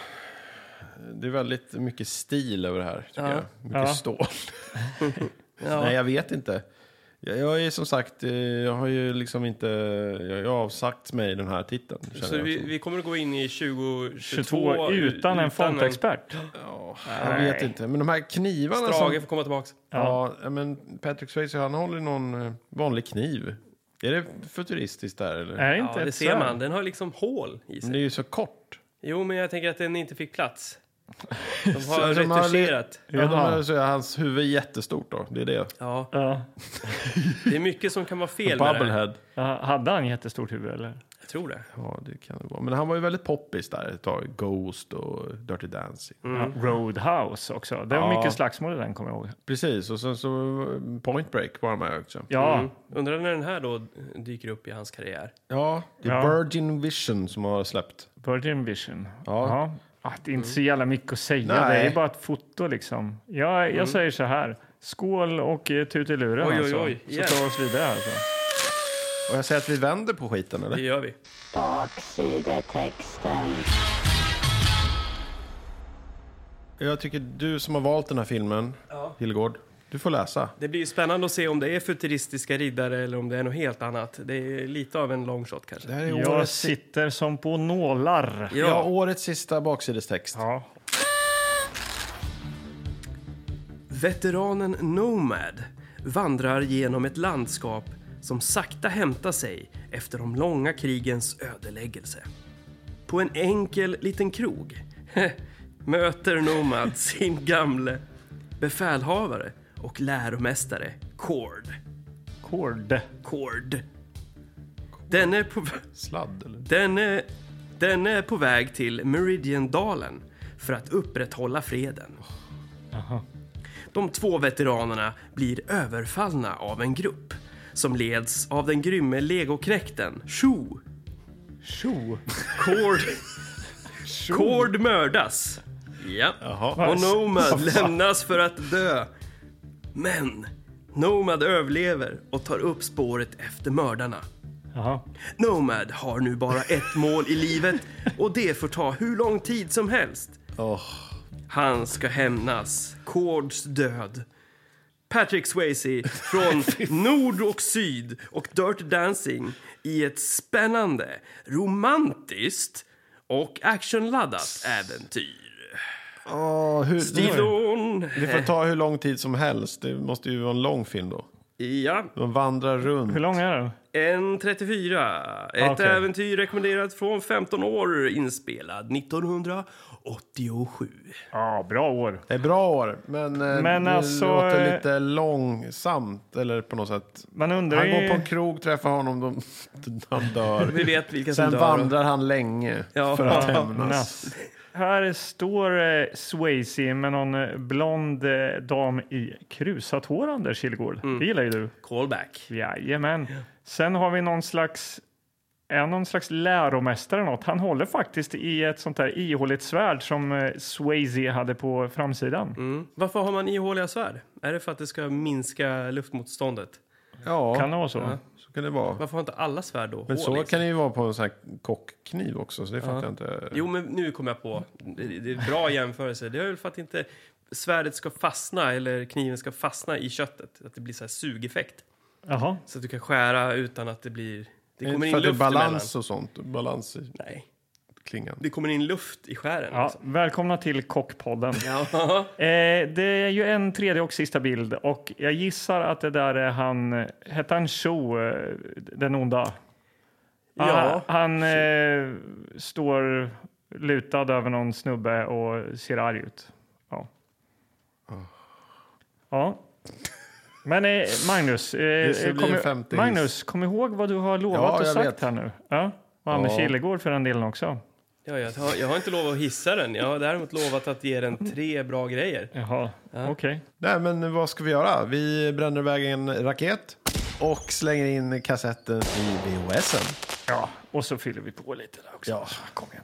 Speaker 1: Det är väldigt mycket stil över det här, tycker
Speaker 2: Ja.
Speaker 1: jag. Mycket
Speaker 3: Ja.
Speaker 1: stål.
Speaker 2: Ja.
Speaker 1: Nej, jag vet inte. Jag, jag är som sagt, eh, jag har ju liksom inte, jag, jag har avsagt mig den här titeln. känner
Speaker 2: Så
Speaker 1: jag
Speaker 2: vi,
Speaker 1: också.
Speaker 2: vi kommer att gå in i 2022
Speaker 3: 22 utan en fontexpert.
Speaker 1: Ja, jag vet inte, men de här knivarna som...
Speaker 2: Strage får komma tillbaka.
Speaker 1: Ja, men Patrick Swayze, han håller någon eh, vanlig kniv. Är det futuristiskt där eller?
Speaker 3: Är det
Speaker 2: Ja,
Speaker 3: inte
Speaker 2: det
Speaker 3: ett
Speaker 2: ser
Speaker 3: svärd?
Speaker 2: man. Den har liksom hål i
Speaker 1: Men
Speaker 2: sig.
Speaker 1: det är ju så kort.
Speaker 2: Jo, men jag tänker att den inte fick plats. De
Speaker 1: Så
Speaker 2: har
Speaker 1: de har li-
Speaker 2: retuscherat.
Speaker 1: Ja, de
Speaker 3: Jaha.
Speaker 1: har, så är hans huvud är jättestort då, det är det.
Speaker 2: Ja,
Speaker 3: Ja.
Speaker 2: det är mycket som kan vara fel med det här.
Speaker 1: Bubblehead.
Speaker 3: Ja, Hade han jättestort huvud
Speaker 1: Mm.
Speaker 3: eller?
Speaker 2: Jag tror det.
Speaker 1: Ja, det kan det vara. Men han var ju väldigt poppis där ett tag. Ghost och Dirty Dancing.
Speaker 3: Ja, Roadhouse också. Det var
Speaker 1: Ja.
Speaker 3: mycket slagsmål i den kommer jag ihåg.
Speaker 1: Precis, och sen så eh, Point Break var han med också.
Speaker 3: Ja,
Speaker 2: Mm. Undrar när den här då dyker upp i hans karriär.
Speaker 1: Ja, det är
Speaker 3: Ja.
Speaker 1: Virgin Vision som har släppt.
Speaker 3: Virgin Vision.
Speaker 1: Ja.
Speaker 3: Ja. Ah, det är inte så jävla mycket att säga.
Speaker 1: Nej.
Speaker 3: Det är bara ett foto liksom. Jag, jag säger så här. Skål och eh, tut i luren
Speaker 2: Oj, oj,
Speaker 3: alltså.
Speaker 2: oj.
Speaker 3: Så
Speaker 2: Igen.
Speaker 3: tar vi oss vidare alltså.
Speaker 1: Och jag säger att vi vänder på skiten,
Speaker 2: Det
Speaker 1: eller?
Speaker 2: gör vi.
Speaker 4: Baksidetexten.
Speaker 1: Jag tycker du som har valt den här filmen,
Speaker 2: Ja.
Speaker 1: Hillgård, du får läsa.
Speaker 2: Det blir ju spännande att se om det är futuristiska riddare eller om det är något helt annat. Det är lite av en long shot kanske.
Speaker 1: Det här är
Speaker 3: Jag
Speaker 1: årets, si-
Speaker 3: sitter som på nålar.
Speaker 1: ja. årets sista baksidestext.
Speaker 3: Ja.
Speaker 2: Veteranen Nomad vandrar genom ett landskap som sakta hämtar sig efter de långa krigens ödeläggelse. På en enkel liten krog möter Nomad sin gamle befälhavare och läromästare Kord.
Speaker 3: Kord.
Speaker 2: Kord. Denne på...
Speaker 1: Sladd, eller?
Speaker 2: Denne, denne är på väg till Meridian-dalen för att upprätthålla freden. De två veteranerna blir överfallna av en grupp som leds av den grymme legoknekten Shu.
Speaker 3: Tjo.
Speaker 2: Kord, Kord mördas. Ja.
Speaker 1: Jaha.
Speaker 2: Och Nomad lämnas för att dö. Men Nomad överlever och tar upp spåret efter mördarna.
Speaker 3: Jaha.
Speaker 2: Nomad har nu bara ett mål i livet och det får ta hur lång tid som helst.
Speaker 1: Åh.
Speaker 2: Han ska hämnas. Cords död. Patrick Swayze från Nord och Syd och Dirty Dancing i ett spännande, romantiskt och actionladdat äventyr.
Speaker 1: Åh, hur,
Speaker 2: Didon!
Speaker 1: Det får ta hur lång tid som helst. Det måste ju vara en lång film då.
Speaker 2: Ja,
Speaker 1: De vandrar runt.
Speaker 3: Hur lång är den?
Speaker 2: en 34. Ett
Speaker 3: Okej.
Speaker 2: äventyr rekommenderat från 15 år, inspelad 1987.
Speaker 3: Ja, bra år.
Speaker 1: Det är bra år, men, eh,
Speaker 3: Men
Speaker 1: det
Speaker 3: alltså, eh,
Speaker 1: låter lite långsamt. Eller på något sätt.
Speaker 3: Man undrar
Speaker 1: Han går på
Speaker 3: ju...
Speaker 1: en krog, träffar honom, de, han dör.
Speaker 2: Vi vet vilka som
Speaker 1: Sen
Speaker 2: dör.
Speaker 1: vandrar han länge
Speaker 2: Ja.
Speaker 1: för att
Speaker 3: Ja,
Speaker 1: hämnas.
Speaker 3: natt. Här står eh, Swayze med någon eh, blond eh, dam i krusat hår, Anders Kilgård. Det gillar ju du.
Speaker 2: Callback.
Speaker 3: Jajamän. Sen har vi någon slags, är han någon slags läromästare eller något. Han håller faktiskt i ett sånt där ihåligt svärd som eh, Swayze hade på framsidan.
Speaker 2: Mm. Varför har man ihåliga svärd? Är det för att det ska minska luftmotståndet?
Speaker 1: Ja,
Speaker 3: Kan det vara så?
Speaker 1: så kan det vara.
Speaker 2: Varför har inte alla svärd då
Speaker 1: Men
Speaker 2: hål
Speaker 1: så
Speaker 2: i sig?
Speaker 1: kan det ju vara på en sån här kockkniv också, så det fattar jag inte.
Speaker 2: Jo, men nu kommer jag på. Det det är bra jämförelse. Det är väl för att inte svärdet ska fastna eller kniven ska fastna i köttet. Att det blir så här sugeffekt.
Speaker 3: Jaha.
Speaker 2: Så att du kan skära utan att det blir...
Speaker 1: Det
Speaker 2: Det
Speaker 1: är
Speaker 2: kommer
Speaker 1: inte för
Speaker 2: in
Speaker 1: att det är
Speaker 2: luft
Speaker 1: balans och sånt, balans i
Speaker 2: emellan. Nej.
Speaker 1: klingan.
Speaker 2: Det kommer in luft i skären.
Speaker 3: Ja,
Speaker 2: liksom.
Speaker 3: välkomna till Kockpodden.
Speaker 2: Ja.
Speaker 3: Eh, det är ju en tredje och sista bild och jag gissar att det där är han, hette han Cho, eh, den onda? Ah,
Speaker 2: Ja.
Speaker 3: Han, han eh, står lutad över någon snubbe och ser arg ut. Ja.
Speaker 1: Ah.
Speaker 3: Ja. Men eh, Magnus, eh,
Speaker 1: ska bli en
Speaker 3: kom,
Speaker 1: femte hiss.
Speaker 3: Magnus, kom ihåg vad du har lovat
Speaker 1: Ja,
Speaker 3: och
Speaker 1: jag
Speaker 3: sagt
Speaker 1: vet.
Speaker 3: här nu. Ja. Och Anders
Speaker 1: Ja.
Speaker 3: Kilegård för den delen också.
Speaker 2: Ja, jag, har, jag har inte lovat att hissa den. Jag har däremot lovat att ge den tre bra grejer.
Speaker 3: Jaha, okej.
Speaker 1: Nej, men vad ska vi göra? Vi bränner iväg en raket och slänger in kassetten i VHSen.
Speaker 3: Ja, och så fyller vi på lite där också.
Speaker 1: Ja.
Speaker 3: Kom igen.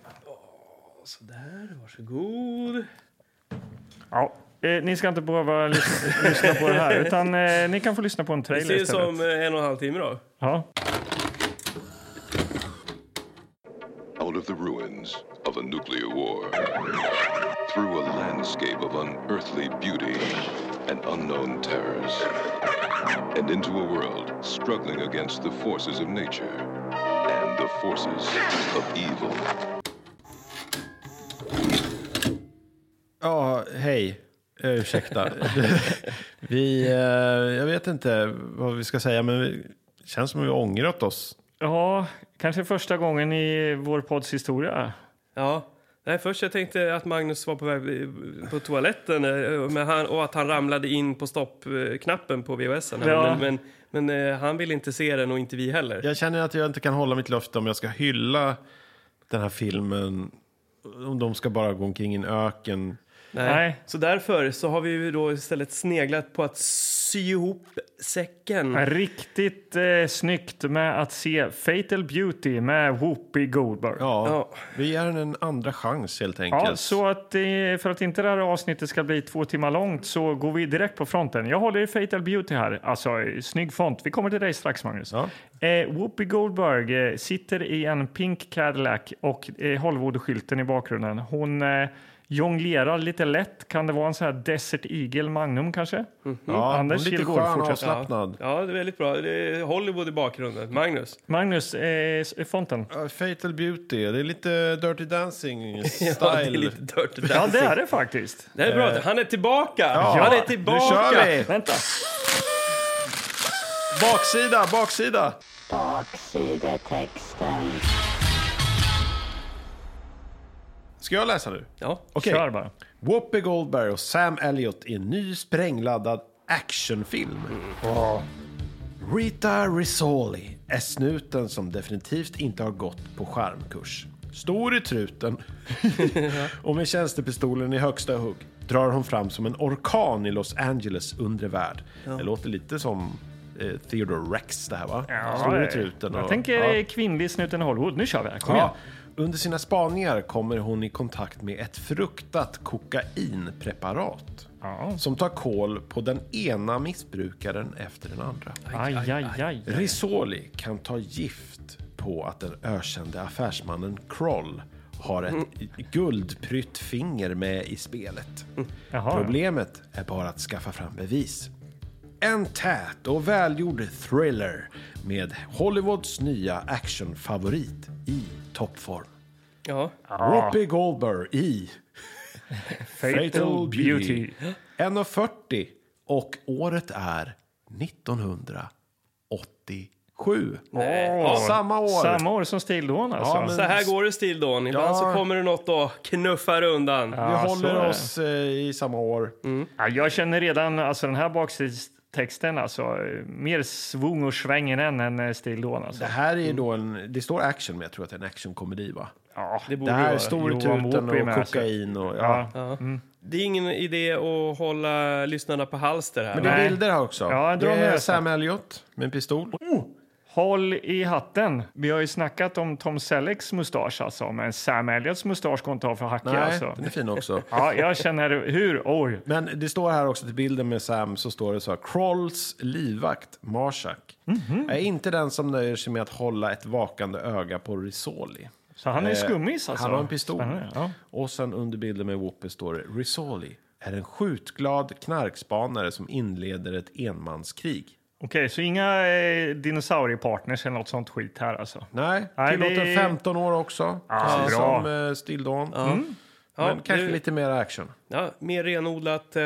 Speaker 2: Sådär, varsågod.
Speaker 3: Ja. Eh, ni ska inte behöva lyssna, lyssna på det här, utan eh, ni kan få lyssna på en
Speaker 2: Det
Speaker 3: trailer
Speaker 2: ser ut
Speaker 3: istället.
Speaker 2: som eh, en och en halv timme då.
Speaker 3: Ja.
Speaker 5: out of the ruins of a nuclear war, through a landscape of unearthly beauty and unknown terrors, and into a world struggling against the forces of nature and the forces of evil.
Speaker 1: Ja, hej. Eh, Ursäkta. vi, eh, jag vet inte vad vi ska säga, men vi- det känns som att vi har ångrat oss.
Speaker 3: ja, kanske första gången i vår podds historia.
Speaker 2: Ja. Nej, först jag tänkte att Magnus var på väg eh, på toaletten eh, men han, och att han ramlade in på stoppknappen på VHSen.
Speaker 3: Ja.
Speaker 2: Men, men, men eh, han ville inte se den och inte vi heller.
Speaker 1: Jag känner att jag inte kan hålla mitt löfte om jag ska hylla den här filmen. Om de ska bara gå omkring i en öken
Speaker 2: Nej.
Speaker 3: Nej.
Speaker 2: Så därför så har vi ju då istället sneglat på att sy ihop säcken.
Speaker 3: Riktigt eh, snyggt med att se Fatal Beauty med Whoopi Goldberg.
Speaker 1: Ja,
Speaker 2: Ja.
Speaker 1: vi ger den en andra chans helt enkelt.
Speaker 3: Ja, så att eh, för att inte det här avsnittet ska bli två timmar långt så går vi direkt på fronten. Jag håller i Fatal Beauty här. Alltså, eh, snygg font. Vi kommer till dig strax, Magnus.
Speaker 1: Ja.
Speaker 3: Eh, Whoopi Goldberg eh, sitter i en pink Cadillac och eh, Hollywood-skylten i bakgrunden. Hon eh, jonglerar lite lätt. Kan det vara en sån här Desert Eagle Magnum kanske? Mm,
Speaker 1: Ja,
Speaker 3: Anders
Speaker 1: hon är lite
Speaker 3: Kihlgård
Speaker 1: skön och
Speaker 3: fortsätter.
Speaker 1: avslappnad.
Speaker 2: Ja, det är väldigt bra. Det är Hollywood i bakgrunden. Magnus.
Speaker 3: Magnus, eh, s- fonten.
Speaker 1: Ja, Fatal Beauty, det är lite Dirty Dancing style.
Speaker 2: Ja, det är lite dirty
Speaker 3: Ja, det
Speaker 2: dancing.
Speaker 3: är det faktiskt.
Speaker 2: Det är bra. Han är tillbaka! Han är tillbaka!
Speaker 1: Nu kör vi!
Speaker 3: Vänta.
Speaker 1: Baksida, baksida!
Speaker 4: Baksidetexten.
Speaker 1: Ska jag läsa nu?
Speaker 2: Ja.
Speaker 1: Okej.
Speaker 3: Kör bara.
Speaker 1: Whoopi Goldberg och Sam Elliott i en ny sprängladdad actionfilm. Rita Risoli är snuten som definitivt inte har gått på skärmkurs. Stor i truten och med tjänstepistolen i högsta hugg drar hon fram som en orkan i Los Angeles undre värld. Det låter lite som eh, Theodore Rex det här va? Stor i truten.
Speaker 3: eh, Jag
Speaker 1: och-
Speaker 3: tänker
Speaker 1: ja.
Speaker 3: eh, kvinnlig snuten i Hollywood. Nu kör vi. här. Kom igen.
Speaker 1: Ja. Under sina spaningar kommer hon i kontakt med ett fruktat kokainpreparat
Speaker 3: Ja.
Speaker 1: som tar koll på den ena missbrukaren efter den andra.
Speaker 3: Aj, aj, aj. aj.
Speaker 1: Risoli kan ta gift på att den ökände affärsmannen Kroll har ett guldprytt finger med i spelet.
Speaker 3: Jaha.
Speaker 1: Problemet är bara att skaffa fram bevis. En tät och välgjord thriller med Hollywoods nya actionfavorit i toppform.
Speaker 2: ja.
Speaker 1: Whoopi Goldberg i Fatal Beauty. 1,40 och året är 1987.
Speaker 3: Åh,
Speaker 1: Samma år.
Speaker 3: Samma år som Stildån alltså.
Speaker 1: men-
Speaker 2: Så här går det Stildon. Ibland
Speaker 1: Ja.
Speaker 2: så kommer det något och knuffar undan.
Speaker 1: Vi
Speaker 3: Ja, så är
Speaker 1: håller
Speaker 3: det. Mm.
Speaker 1: oss eh, i samma år.
Speaker 3: ja, jag känner redan alltså den här baksidstexten alltså. eh, Mer svung och sväng i den än eh, Stildån alltså.
Speaker 1: Det här är ju då en, det står action, men jag tror att det är en actionkomedi va?
Speaker 3: Ja.
Speaker 2: Det borde
Speaker 1: Det här
Speaker 2: vara.
Speaker 1: är stor i
Speaker 3: Johan
Speaker 1: tuten
Speaker 3: Whoopi
Speaker 1: och
Speaker 3: med sig.
Speaker 1: kokain och ja.
Speaker 3: Ja.
Speaker 2: Ja. Det är ingen idé att hålla lyssnarna på halster här.
Speaker 1: Men det är
Speaker 3: Nej.
Speaker 1: bilder här också.
Speaker 3: Ja,
Speaker 1: det
Speaker 3: dra med
Speaker 1: är
Speaker 3: det.
Speaker 1: Sam Elliot med en pistol.
Speaker 3: Håll i hatten. Vi har ju snackat om Tom Sellecks mustasch alltså. Men Sam Elliots mustasch går inte av för hackig
Speaker 1: Nej,
Speaker 3: alltså.
Speaker 1: den är fin också.
Speaker 3: Ja, jag känner hur. Oj.
Speaker 1: Men det står här också till bilden med Sam så står det så här. Krolls livvakt Marshak
Speaker 3: Mhm.
Speaker 1: är inte den som nöjer sig med att hålla ett vakande öga på Risoli. Eh,
Speaker 3: Så han är skummis alltså.
Speaker 1: Han har en pistol.
Speaker 3: Spännande, Ja.
Speaker 1: Och sen under bilden med Whoopi står det Risoli är en skjutglad knarkspanare som inleder ett enmanskrig.
Speaker 3: Okej, så inga eh, dinosauriepartners eller något sånt skit här alltså.
Speaker 1: Nej,
Speaker 3: Nej,
Speaker 1: tillåten
Speaker 3: det-
Speaker 1: 15 år också.
Speaker 3: Ja,
Speaker 1: precis
Speaker 3: bra.
Speaker 1: som eh, Still Dawn. Men
Speaker 2: Ja,
Speaker 1: kanske
Speaker 2: det-
Speaker 1: lite mer action.
Speaker 2: Ja, mer renodlat, eh,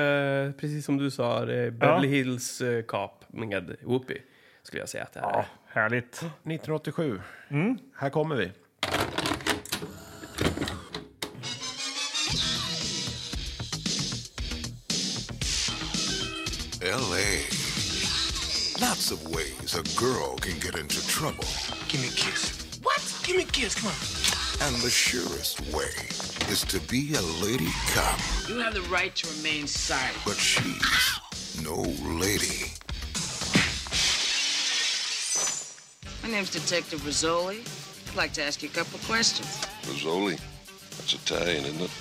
Speaker 2: precis som du sa, eh, Beverly Hills eh, Cop med Whoopi. Skulle jag säga att det här
Speaker 3: Ja,
Speaker 2: är.
Speaker 3: härligt.
Speaker 1: 1987.
Speaker 3: Mm.
Speaker 1: Här kommer vi.
Speaker 6: LA. Lots of ways a girl can get into trouble.
Speaker 7: Give me a kiss. What? Give me a kiss. Come on.
Speaker 6: And the surest way is to be a lady cop.
Speaker 8: You have the right to remain silent.
Speaker 6: But she's no lady.
Speaker 8: My name's Detective Rizzoli. I'd like to ask you a couple questions.
Speaker 5: Rizzoli. That's Italian, isn't it?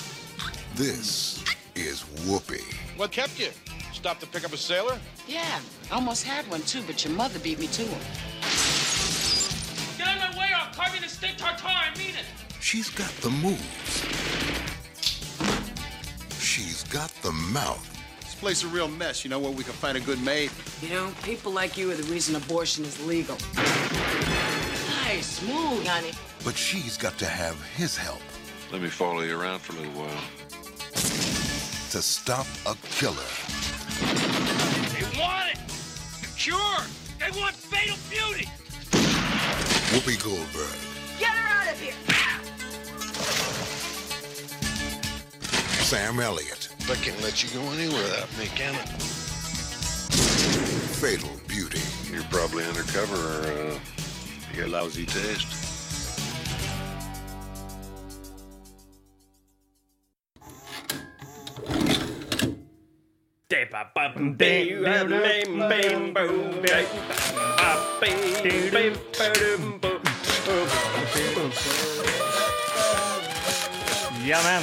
Speaker 6: This is Whoopi.
Speaker 9: What kept you? Stop to pick up a sailor?
Speaker 8: Yeah, I almost had one too, but your mother beat me to it.
Speaker 10: Get out of my way, I'll carve you the steak tartare, I mean it!
Speaker 6: She's got the moves. She's got the mouth.
Speaker 9: This place a real mess. You know where we can find a good maid?
Speaker 8: You know, people like you are the reason abortion is legal. Nice, smooth, honey.
Speaker 6: But she's got to have his help
Speaker 5: Let me follow you around for a little while.
Speaker 6: to stop a killer.
Speaker 10: They want it! Cure! They want fatal beauty!
Speaker 6: Whoopi Goldberg.
Speaker 8: Get her out of here!
Speaker 6: Sam Elliott.
Speaker 5: I can't let you go anywhere without me, can I?
Speaker 6: Fatal Beauty.
Speaker 5: You're probably undercover or uh, you got lousy taste.
Speaker 3: Jamen,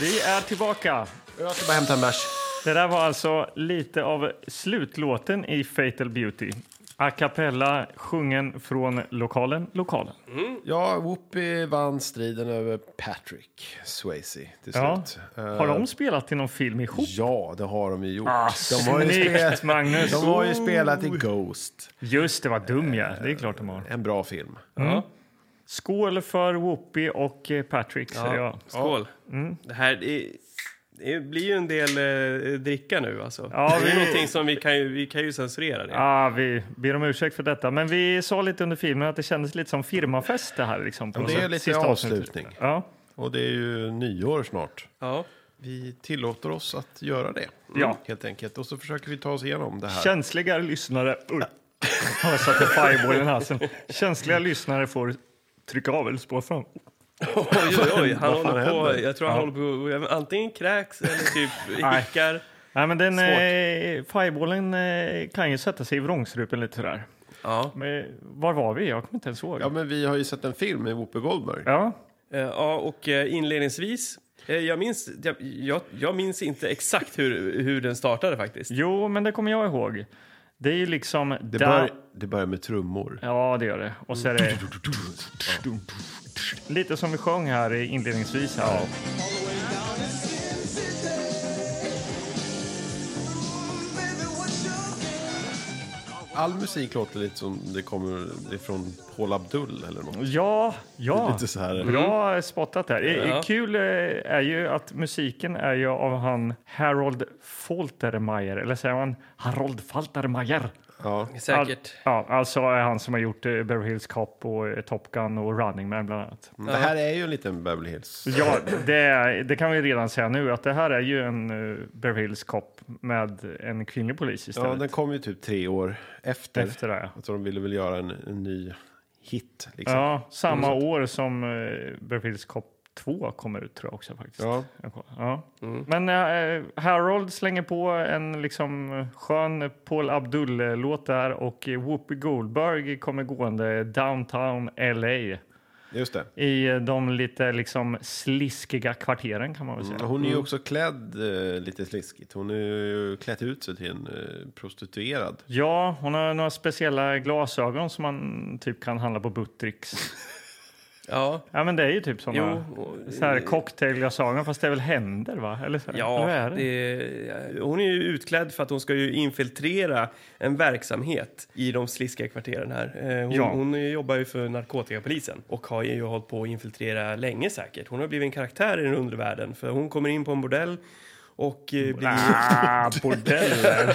Speaker 3: vi är tillbaka.
Speaker 1: Jag ska bara hämta en bärs.
Speaker 3: Det där var alltså lite av slutlåten i Fatal Beauty. A cappella sjungen från lokalen, lokalen.
Speaker 1: Ja, Whoopi vann striden över Patrick Swayze till
Speaker 3: Ja.
Speaker 1: slut. Eh,
Speaker 3: Har de spelat i någon film ihop?
Speaker 1: Ja, det har de ju gjort. de, har ju
Speaker 3: Snyggt,
Speaker 1: spelat,
Speaker 3: Magnus!
Speaker 1: de har ju spelat i Ghost,
Speaker 3: Just det, var dum jag. Det är klart de har.
Speaker 1: en bra film.
Speaker 3: Skål för Whoopi och eh, Patrick, säger jag.
Speaker 2: Skål.
Speaker 3: Mm.
Speaker 2: Det här det, det blir ju en del eh, dricka nu. Alltså.
Speaker 3: Ja,
Speaker 2: det är
Speaker 3: vi-
Speaker 2: någonting som vi kan, ju, vi kan ju censurera. Det.
Speaker 3: Ah, vi ber om ursäkt för detta, men vi sa lite under filmen att det kändes lite som firmafest det här. Liksom, på
Speaker 1: Det
Speaker 3: något
Speaker 1: är
Speaker 3: sätt.
Speaker 1: lite
Speaker 3: Sista avsnittet.
Speaker 1: avslutning.
Speaker 3: Ja.
Speaker 1: Och det är ju nyår snart.
Speaker 2: Ja.
Speaker 1: Vi tillåter oss att göra det,
Speaker 3: Ja.
Speaker 1: helt enkelt. Och så försöker vi ta oss igenom det här.
Speaker 3: Känsliga lyssnare... Oj. Jag satte fireball i halsen. Känsliga lyssnare får trycka av eller spå fram.
Speaker 2: Oj, oj, oj. Han
Speaker 1: Vad fan
Speaker 2: håller på,
Speaker 1: händer?
Speaker 2: jag tror han håller på antingen kräks eller typ
Speaker 3: Nej.
Speaker 2: hickar.
Speaker 3: Nej, men den,
Speaker 2: Svårt.
Speaker 3: eh, fireballen eh, kan ju sätta sig i vrångstrupen lite sådär.
Speaker 2: Ja.
Speaker 3: Men, var var vi? Jag kommer inte ens ihåg.
Speaker 1: Ja, men vi har ju sett en film med Whoopi Goldberg.
Speaker 3: Ja.
Speaker 2: Eh, Ja, och eh, inledningsvis... eh, Jag minns, jag, jag, jag minns inte exakt hur, hur den startade faktiskt.
Speaker 3: Jo, men det kommer jag ihåg. Det är ju liksom...
Speaker 1: Det,
Speaker 3: där-
Speaker 1: bör, det börjar med trummor.
Speaker 3: Ja, det gör det. Och så är det... Lite som vi sjöng här i- inledningsvis. Här.
Speaker 1: All musik låter lite som det kommer ifrån Paul Abdul eller något.
Speaker 3: Ja, ja.
Speaker 1: Lite så här.
Speaker 3: Bra spottat där. I-
Speaker 2: Ja.
Speaker 3: Kul eh, är ju att musiken är ju av han Harold Faltermeyer, eller säger man Harold Faltermeyer?
Speaker 1: Ja.
Speaker 2: Säkert.
Speaker 3: Ja, alltså är han som har gjort eh, Beverly Hills Cop och eh, Top Gun och Running Man bland annat.
Speaker 1: Det här är ju en liten Beverly Hills.
Speaker 3: Ja, det, är- det kan vi redan säga nu att det här är ju en eh, Beverly Hills Cop med en kvinnlig polis
Speaker 1: Ja,
Speaker 3: istället.
Speaker 1: den kom ju typ tre år efter.
Speaker 3: Efter det, ja.
Speaker 1: Jag tror de ville väl göra en, en ny hit. Liksom. Ja.
Speaker 3: Ja, samma år som eh, Beverly Hills Cop 2 kommer ut tror jag också faktiskt.
Speaker 1: Ja. Mm.
Speaker 3: Jag kollar. Ja. Men eh, Harold slänger på en liksom skön Paul Abdul-låt där och eh, Whoopi Goldberg kommer gående downtown LA
Speaker 1: Just det.
Speaker 3: i eh, de lite liksom sliskiga kvarteren kan man väl säga.
Speaker 2: Mm,
Speaker 1: Hon är ju också klädd eh, lite sliskigt. Hon är ju klätt ut sig till en eh, prostituerad.
Speaker 3: Ja, hon har några speciella glasögon som man typ kan handla på Buttricks.
Speaker 2: Ja.
Speaker 3: Ja, men det är ju typ såna
Speaker 2: Jo, och-
Speaker 3: så här cocktailglasögon, fast det är väl händer, va? Eller så här,
Speaker 2: Ja,
Speaker 3: vad är det?
Speaker 2: det- hon är ju utklädd för att hon ska ju infiltrera en verksamhet i de sliskiga kvarteren här. Eh, Hon,
Speaker 3: Ja.
Speaker 2: hon jobbar ju för narkotikapolisen och har ju hållit på att infiltrera länge säkert. Hon har blivit en karaktär i den undervärlden för hon kommer in på en bordell och eh, blir...
Speaker 3: Ah, bordeller.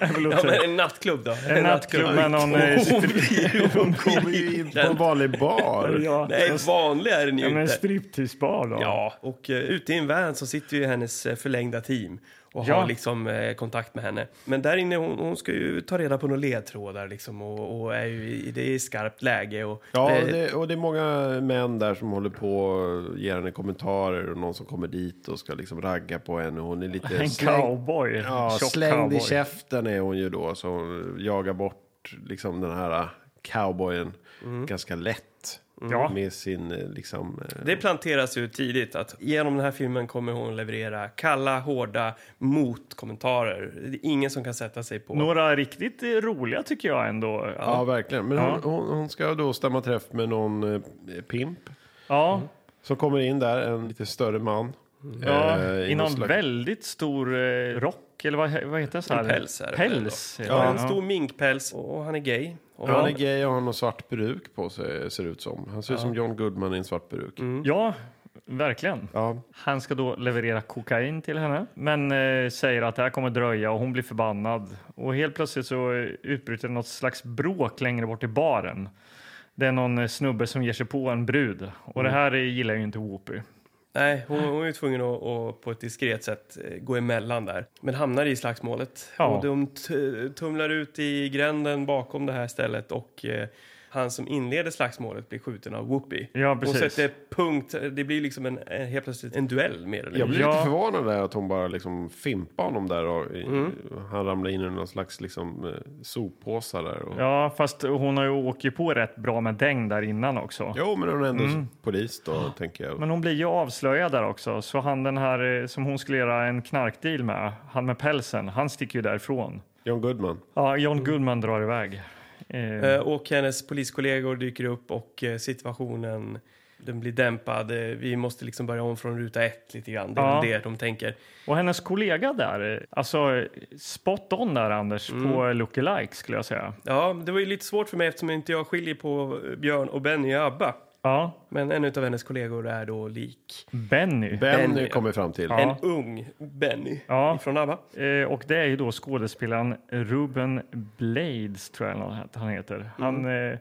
Speaker 3: Jag vill
Speaker 2: Ja,
Speaker 3: inte-
Speaker 2: men en nattklubb då.
Speaker 3: En nattklubb med någon... eh, stri-
Speaker 1: Hon kommer ju in på en vanlig bar.
Speaker 3: Ja,
Speaker 2: Nej, vanlig är den ju
Speaker 3: ja, men en
Speaker 2: inte.
Speaker 3: stripteasebar då.
Speaker 2: Ja, och eh, ute i en van så sitter ju hennes eh, förlängda team och
Speaker 3: Ja.
Speaker 2: har liksom eh, kontakt med henne. Men där inne, hon, hon ska ju ta reda på några ledtrådar liksom och, och är ju i, det är i skarpt läge och...
Speaker 1: Ja,
Speaker 2: eh,
Speaker 1: och det, och det är många män där som håller på och ger henne kommentarer och någon som kommer dit och ska liksom ragga på henne. Hon är lite
Speaker 3: En
Speaker 1: släng-
Speaker 3: cowboy.
Speaker 1: ja,
Speaker 3: tjock
Speaker 1: slängd i
Speaker 3: cowboy.
Speaker 1: käften är hon ju då. Så hon jagar bort liksom den här eh, cowboyen ganska lätt.
Speaker 3: Mm. Ja.
Speaker 1: Med sin eh, liksom... eh,
Speaker 2: det planteras ju tidigt att genom den här filmen kommer hon leverera kalla, hårda motkommentarer. Det är ingen som kan sätta sig på...
Speaker 3: Några riktigt eh, roliga tycker jag ändå.
Speaker 1: Ja, verkligen. Men hon, hon, hon ska då stämma träff med någon eh, pimp
Speaker 3: Ja,
Speaker 1: som kommer in där, en lite större man.
Speaker 3: Mm. ja
Speaker 1: eh, i
Speaker 3: i någon
Speaker 1: slags-
Speaker 3: väldigt stor eh, rock, eller vad, he- vad heter det? Så här?
Speaker 2: En päls är det väl
Speaker 3: Päls.
Speaker 2: Ja, en stor minkpäls och han är gay. Och
Speaker 1: Han är gay och har någon svart peruk på sig, ser det ut som. Han ser ut som John Goodman i en svart peruk.
Speaker 3: Mm. Ja, verkligen.
Speaker 1: Ja.
Speaker 3: Han ska då leverera kokain till henne, men eh, säger att det här kommer dröja och hon blir förbannad. Och helt plötsligt så eh, utbryter något slags bråk längre bort i baren. Det är någon eh, snubbe som ger sig på en brud och det här eh, gillar ju inte Whoopi.
Speaker 2: Nej, hon, hon är ju tvungen att, att på ett diskret sätt eh, gå emellan där. Men hamnar i slagsmålet.
Speaker 3: Ja.
Speaker 2: Och de t- tumlar ut i gränden bakom det här stället och eh, han som inleder slagsmålet blir skjuten av Whoopi.
Speaker 3: Ja,
Speaker 2: Hon
Speaker 3: precis.
Speaker 2: sätter eh, punkt. Det blir liksom en, en, helt plötsligt en duell mer eller
Speaker 1: Jag
Speaker 2: mindre.
Speaker 1: blir
Speaker 3: Ja.
Speaker 1: lite förvånad där att hon bara liksom fimpade honom där och
Speaker 3: Mm.
Speaker 1: och han ramlade in i någon slags liksom eh, soppåsar där. Och...
Speaker 3: Ja, fast hon har ju åkt ju på rätt bra med däng där innan också.
Speaker 1: Jo, men hon är ändå polis då, tänker jag.
Speaker 3: Mm. Men hon blir ju avslöjad där också, så han den här eh, som hon skulle göra en knarkdeal med, han med pälsen, han sticker ju därifrån.
Speaker 1: John Goodman.
Speaker 3: Ja, John Goodman drar iväg. Eh,
Speaker 2: Eh, Och hennes poliskollegor dyker upp och eh, situationen den blir dämpad. Eh, Vi måste liksom börja om från ruta ett lite grann. Det är
Speaker 3: Ja.
Speaker 2: väl det de tänker.
Speaker 3: Och hennes kollega där, eh, alltså eh, spot on där Anders, på lookalike skulle jag säga.
Speaker 2: Ja, det var ju lite svårt för mig eftersom inte jag skiljer på eh, Björn och Benny i ABBA.
Speaker 3: Ja,
Speaker 2: Men en av hennes kollegor är då lik
Speaker 3: Benny.
Speaker 1: Benny
Speaker 2: Benny.
Speaker 1: kommer vi fram till.
Speaker 3: Ja.
Speaker 2: en ung Benny
Speaker 3: Ja.
Speaker 2: från ABBA.
Speaker 3: Eh, och det är ju då skådespelaren Ruben Blades, tror jag han- han heter. Han eh,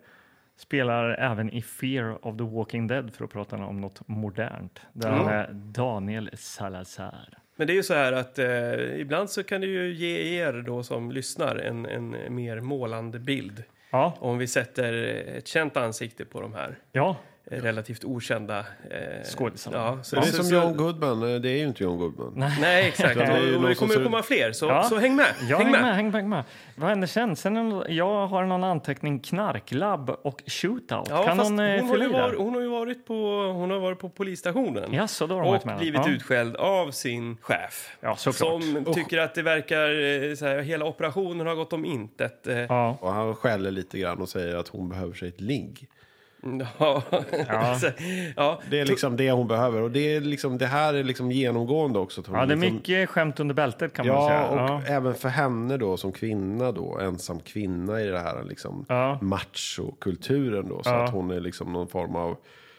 Speaker 3: spelar även i Fear of the Walking Dead, för att prata om något modernt. Där han är Daniel Salazar.
Speaker 2: Men det är ju så här att eh, ibland så kan det ju ge er då som lyssnar en, en mer målande bild
Speaker 3: Ja,
Speaker 2: om vi sätter ett känt ansikte på de här
Speaker 3: ja.
Speaker 2: eh, relativt okända eh,
Speaker 3: Skådisarna.
Speaker 2: Ja, så,
Speaker 1: Det är
Speaker 2: så,
Speaker 3: Alltså,
Speaker 1: som
Speaker 2: så,
Speaker 1: John Goodman, eh, det är ju inte John Goodman.
Speaker 2: Nej, exakt.
Speaker 1: Det är ju
Speaker 2: Och- och
Speaker 1: någon
Speaker 2: det
Speaker 1: som
Speaker 2: kommer
Speaker 1: ser-
Speaker 2: ju komma fler, så,
Speaker 3: Ja.
Speaker 2: så häng med.
Speaker 3: Ja,
Speaker 2: häng med.
Speaker 3: häng med, häng med. Vad händer sen? sen är- jag har någon anteckning, knarklabb och shootout.
Speaker 2: Ja,
Speaker 3: kan
Speaker 2: fast
Speaker 3: någon eh,
Speaker 2: hon, har
Speaker 3: fylla
Speaker 2: ju
Speaker 3: i där?
Speaker 2: varit, hon har ju varit på, hon har varit på polisstationen
Speaker 3: Jaså, då har hon varit med.
Speaker 2: och blivit
Speaker 3: Ja.
Speaker 2: utskälld av sin chef.
Speaker 3: Ja, såklart.
Speaker 2: som tycker att det verkar, eh, så här, hela operationen har gått om intet. eh,
Speaker 3: Ja,
Speaker 1: Och han skäller lite grann och säger att hon behöver sig ett ligg.
Speaker 2: Ja. Alltså, ja.
Speaker 1: Det är liksom det hon behöver. Och det, är liksom, det här är liksom genomgående också. att hon
Speaker 3: ja, det är
Speaker 1: liksom,
Speaker 3: mycket skämt under bältet kan man säga.
Speaker 1: Ja, och även för henne då som kvinna då, ensam kvinna i det här liksom
Speaker 3: Ja.
Speaker 1: machokulturen då. Så
Speaker 3: Ja.
Speaker 1: att hon är liksom någon form av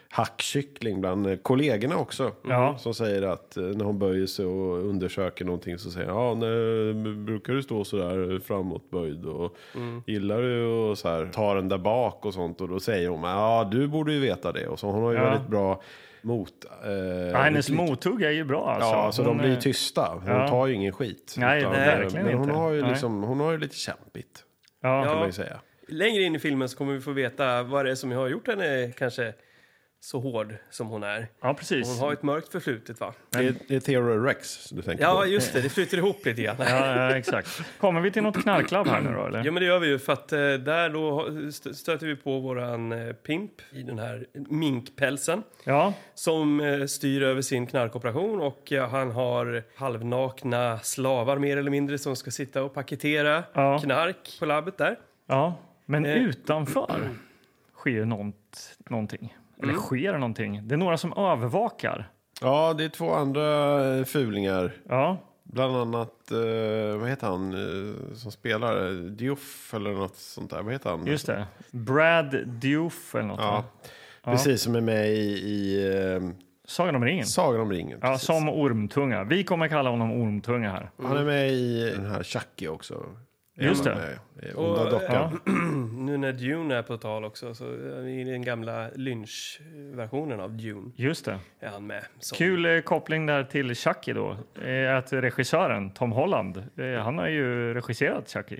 Speaker 1: hackkyckling bland eh, kollegorna också.
Speaker 3: Ja.
Speaker 1: Som säger att eh, när hon böjer sig och undersöker någonting så säger hon, ja, nej, brukar du stå så där framåtböjd och
Speaker 3: Mm.
Speaker 1: gillar du och så här, ta den där bak och sånt. Och då säger hon, ja du borde ju veta det. Och så hon har ju
Speaker 3: Ja.
Speaker 1: väldigt bra mot... Eh,
Speaker 3: ja, hennes
Speaker 1: motlyck-
Speaker 3: mothugg är ju bra. Alltså.
Speaker 1: Ja, så de
Speaker 3: Hon,
Speaker 1: blir ju
Speaker 2: typ-
Speaker 3: eh,
Speaker 1: tysta. Hon
Speaker 3: ja.
Speaker 1: tar ju ingen skit.
Speaker 3: Nej,
Speaker 1: Utan-
Speaker 3: nej, verkligen
Speaker 1: men hon
Speaker 3: inte.
Speaker 1: har, ju
Speaker 3: Nej.
Speaker 1: liksom, hon har ju lite kämpigt,
Speaker 3: Ja.
Speaker 1: kan
Speaker 2: Ja.
Speaker 1: man ju säga.
Speaker 2: Längre in i filmen så kommer vi få veta vad det är som har gjort henne kanske så hård som hon är.
Speaker 3: Ja, precis.
Speaker 2: Hon har ett mörkt förflutet va?
Speaker 1: Det är, det är Theodore Rex som du tänker
Speaker 2: Ja,
Speaker 1: på.
Speaker 2: just det, det flyter ihop lite grann.
Speaker 3: Ja, ja, exakt. Kommer vi till något knarklabb här nu då, eller?
Speaker 2: Ja, men det gör vi ju för att eh, där då st- stöter vi på våran eh, pimp i den här minkpälsen
Speaker 3: Ja,
Speaker 2: som eh, styr över sin knarkoperation och eh, han har halvnakna slavar mer eller mindre som ska sitta och paketera
Speaker 3: Ja.
Speaker 2: knark på labbet där.
Speaker 3: ja. Men
Speaker 2: Eh.
Speaker 3: utanför sker nånt, någonting. Eller
Speaker 2: Mm.
Speaker 3: sker någonting. Det är några som övervakar.
Speaker 1: Ja, det är två andra eh, fulingar.
Speaker 3: Ja,
Speaker 1: Bland annat, eh, vad heter han eh, som spelar? Dioff eller något sånt där. Vad heter han?
Speaker 3: just det. Brad Diouf eller något.
Speaker 1: Ja.
Speaker 3: Ja.
Speaker 1: Precis, som är med i, i eh,
Speaker 3: Sagan om ringen.
Speaker 1: Sagan om ringen.
Speaker 3: Ja,
Speaker 1: precis.
Speaker 3: som ormtunga. Vi kommer kalla honom ormtunga här.
Speaker 1: Han är med i den här Chucky också. Är
Speaker 3: Just
Speaker 1: han
Speaker 3: det.
Speaker 1: Med, i Onda
Speaker 2: Och,
Speaker 1: dockan.
Speaker 3: Ja.
Speaker 2: Nu när Dune är på tal också, så eh, i den gamla Lynch-versionen av Dune
Speaker 3: Just det.
Speaker 2: är han med. som-
Speaker 3: Kul eh, koppling där till Chucky då. Eh, att regissören Tom Holland, eh, han har ju regisserat Chucky.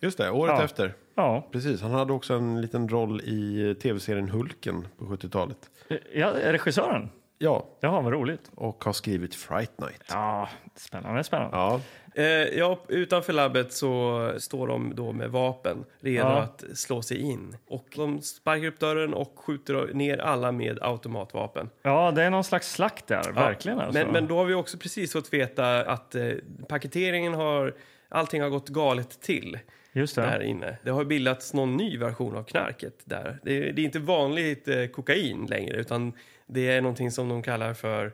Speaker 1: Just det, året
Speaker 3: Ja.
Speaker 1: efter.
Speaker 3: Ja,
Speaker 1: Precis, han hade också en liten roll i eh, tv-serien Hulken på 70-talet.
Speaker 3: eh, ja regissören.
Speaker 1: Ja,
Speaker 3: Jaha, vad roligt.
Speaker 1: och har skrivit Fright Night.
Speaker 3: Ja, spännande, spännande.
Speaker 1: Ja,
Speaker 2: Eh, ja, utanför labbet så står de då med vapen redo
Speaker 3: Ja.
Speaker 2: att slå sig in. Och de sparkar upp dörren och skjuter ner alla med automatvapen.
Speaker 3: Ja, det är någon slags slakt där, verkligen. Alltså.
Speaker 2: Men, men då har vi också precis fått veta att eh, paketeringen har... Allting har gått galet till
Speaker 3: Just
Speaker 2: där
Speaker 3: det.
Speaker 2: inne. Det har bildats någon ny version av knarket där. Det, är- det är inte vanligt eh, kokain längre utan det är någonting som de kallar för eh,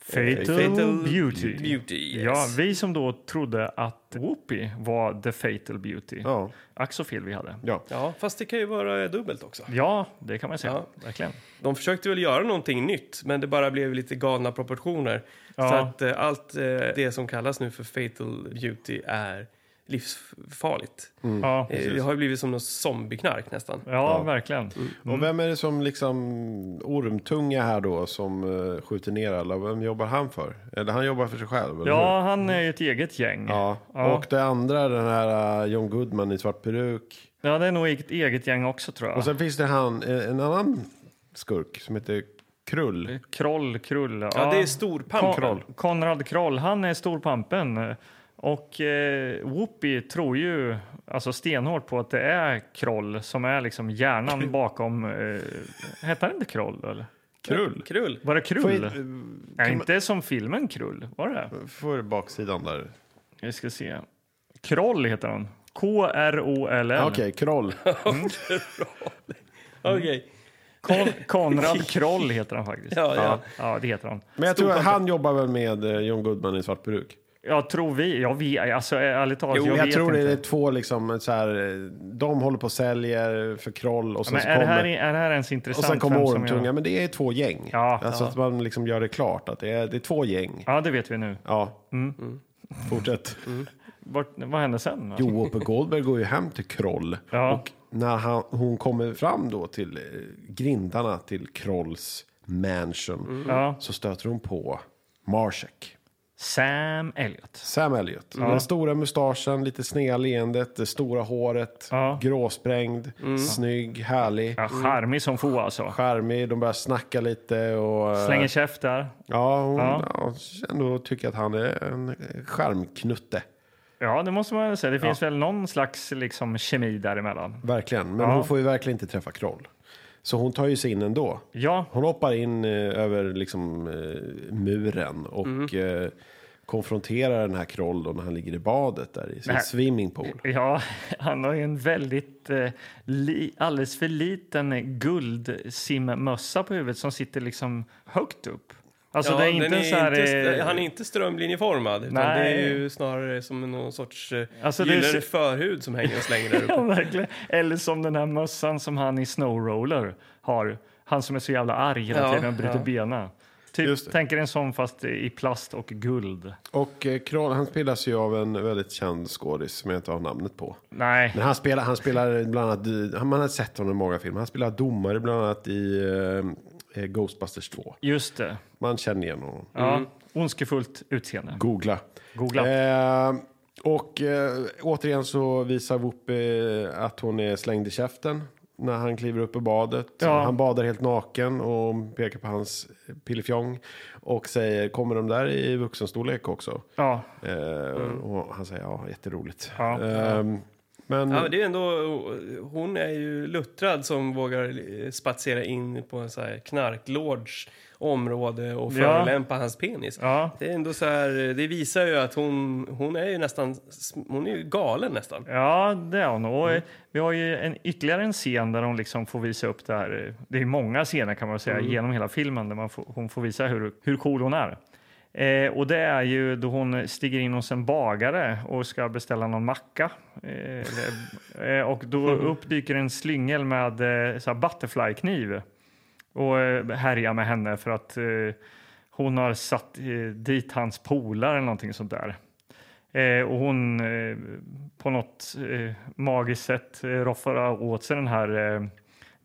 Speaker 3: Fatal,
Speaker 2: Fatal
Speaker 3: Beauty.
Speaker 2: beauty, yes.
Speaker 3: Ja, vi som då trodde att Whoopi var the fatal beauty.
Speaker 1: ja,
Speaker 3: Ack så fel vi hade.
Speaker 1: ja.
Speaker 2: Ja, fast det kan ju vara eh, dubbelt också.
Speaker 3: Ja, det kan man säga.
Speaker 2: Ja. Mm.
Speaker 3: Verkligen.
Speaker 2: De försökte väl göra någonting nytt, men det bara blev lite galna proportioner.
Speaker 3: Ja.
Speaker 2: Så att eh, allt eh, det som kallas nu för fatal beauty är livsfarligt.
Speaker 3: Ja,
Speaker 2: Eh, Det har ju blivit som något zombieknark nästan.
Speaker 3: ja verkligen.
Speaker 1: Och vem är det som liksom ormtunga här då som eh, skjuter ner alla? Vem jobbar han för? Eller han jobbar för sig själv? Eller hur?
Speaker 3: Ja, han är ju ett eget gäng.
Speaker 1: ja.
Speaker 3: Ja.
Speaker 1: Och det andra, den här eh, John Goodman i svart peruk.
Speaker 3: Ja, det är nog ett eget gäng också tror jag.
Speaker 1: Och sen finns det han, eh, en annan skurk som heter Krull.
Speaker 3: Kroll, Krull. Ja,
Speaker 2: Ja, det är storpamp.
Speaker 3: Kon- Konrad Kroll, han är storpampen. Och eh, Whoopi tror ju alltså stenhårt på att det är Kroll som är liksom hjärnan bakom... Eh, hette han inte Kroll? Eller?
Speaker 1: Krull?
Speaker 2: Krull.
Speaker 3: Var det
Speaker 1: Får
Speaker 3: Krull?
Speaker 1: jag-
Speaker 3: Nej, inte som filmen Krull. Var det?
Speaker 1: Får baksidan där.
Speaker 3: Vi ska se. Kroll heter han. K-R-O-L-L.
Speaker 1: Ah, Okej, Kroll.
Speaker 3: Mm.
Speaker 2: Okej.
Speaker 3: Kon- Konrad Kroll heter han faktiskt.
Speaker 2: Ja, ja.
Speaker 3: ja, det heter han.
Speaker 1: Men jag tror att han jobbar väl med eh, John Goodman i svart peruk.
Speaker 3: Jag tror vi... Jag vi alltså, ärligt talat,
Speaker 1: Jo,
Speaker 3: jag,
Speaker 1: jag,
Speaker 3: vet
Speaker 1: tror
Speaker 3: inte.
Speaker 1: det är två liksom så här, eh, de håller på och säljer för kroll och sen
Speaker 3: Men
Speaker 1: så
Speaker 3: är det, här,
Speaker 1: kommer,
Speaker 3: är det här ens
Speaker 1: och
Speaker 3: intressant?
Speaker 1: sen kommer
Speaker 3: vem som gör-
Speaker 1: ormtunga. Men det är två gäng.
Speaker 3: Ja,
Speaker 1: alltså att man liksom gör det klart att det är, det är två gäng.
Speaker 3: Ja, det vet vi nu.
Speaker 1: Ja.
Speaker 3: Mm.
Speaker 1: Mm. Fortsätt.
Speaker 3: Vart, vad hände sen?
Speaker 1: Jo, Whoopi Goldberg går ju hem till Kroll.
Speaker 3: Ja.
Speaker 1: Och när han, hon kommer fram då till eh, grindarna till Krolls mansion
Speaker 3: Ja.
Speaker 1: så stöter hon på Marsek.
Speaker 3: Sam Elliot.
Speaker 1: Sam Elliot. Den stora mustaschen, lite sneda leendet, det stora håret,
Speaker 3: Ja. Mm.
Speaker 1: gråsprängd, snygg, härlig,
Speaker 3: Ja, charmig som få alltså.
Speaker 1: charmig. De börjar snacka lite och... eh,
Speaker 3: Slänger käft där.
Speaker 1: Ja, hon
Speaker 3: Ja.
Speaker 1: ja. ändå tycker att han är en skärmknutte.
Speaker 3: Ja, det måste man väl säga. Det finns väl någon slags liksom, kemi däremellan.
Speaker 1: Verkligen. Men
Speaker 3: Ja.
Speaker 1: hon får ju verkligen inte träffa Kroll. Så hon tar ju sig in ändå.
Speaker 3: Ja,
Speaker 1: Hon hoppar in eh, över liksom, eh, muren och
Speaker 3: Mm.
Speaker 1: eh, konfronterar den här Kroll då när han ligger i badet där i sin
Speaker 3: Nej.
Speaker 1: swimmingpool.
Speaker 3: ja han har ju en väldigt eh, li, alldeles för liten guldsimmössa på huvudet som sitter liksom högt upp. Alltså
Speaker 2: Ja,
Speaker 3: det är
Speaker 2: den
Speaker 3: inte en
Speaker 2: är
Speaker 3: så här...
Speaker 2: inte,
Speaker 3: eh,
Speaker 2: han är inte strömlinjeformad, utan
Speaker 3: Nej.
Speaker 2: det är ju snarare som någon sorts eh,
Speaker 3: Alltså, det är
Speaker 2: gyllene
Speaker 3: så-
Speaker 2: förhud som hänger och slänger där
Speaker 3: Ja,
Speaker 2: uppe.
Speaker 3: verkligen. Eller som den här mössan som han i Snowroller har. Han som är så jävla arg hela
Speaker 2: Ja,
Speaker 3: tiden och bryter
Speaker 2: ja.
Speaker 3: benen.
Speaker 1: Just det.
Speaker 3: Typ, tänker en sån fast i plast och guld.
Speaker 1: Och eh, Kroll, han spelas ju av en väldigt känd skådis som jag inte har namnet på.
Speaker 3: Nej,
Speaker 1: Men han spelar, han spelar bland annat, han- man har sett honom i många filmer. Han spelar domare bland annat i eh, Ghostbusters 2.
Speaker 3: just det.
Speaker 1: Man känner igen honom.
Speaker 3: Ja.
Speaker 2: Mm.
Speaker 3: Ondskefullt utseende.
Speaker 1: Googla.
Speaker 3: Googla.
Speaker 1: Eh, och eh, återigen så visar Whoopi eh, att hon är slängd i käften när han kliver upp i badet.
Speaker 3: Ja.
Speaker 1: Han badar helt naken och pekar på hans pillefjong och säger kommer de där i vuxenstorlek också?
Speaker 3: Ja,
Speaker 1: Eh, Och han säger ja, jätteroligt.
Speaker 3: Mm. Ja.
Speaker 1: Eh, men,
Speaker 2: Ja, men det är ändå, eh, hon är ju luttrad som vågar eh, spatsera in på en så här knarklords område och
Speaker 3: Ja.
Speaker 2: förolämpa hans penis.
Speaker 3: Ja.
Speaker 2: Det, är ändå så här, eh, det visar ju att hon, hon är ju nästan hon är ju galen nästan.
Speaker 3: ja det är hon. Och eh, Vi har ju en, ytterligare en scen där hon liksom får visa upp det här. eh, Det är många scener kan man säga genom hela filmen där man får, hon får visa hur, hur cool hon är. Eh, och det är ju då hon stiger in hos en bagare och ska beställa någon macka. Eh, eller, eh, och då uppdyker en slyngel med eh, så här butterflykniv och eh, härjar med henne för att eh, hon har satt eh, dit hans polare eller någonting sånt där. Eh, och hon eh, på något eh, magiskt sätt eh, roffar åt sig den här eh,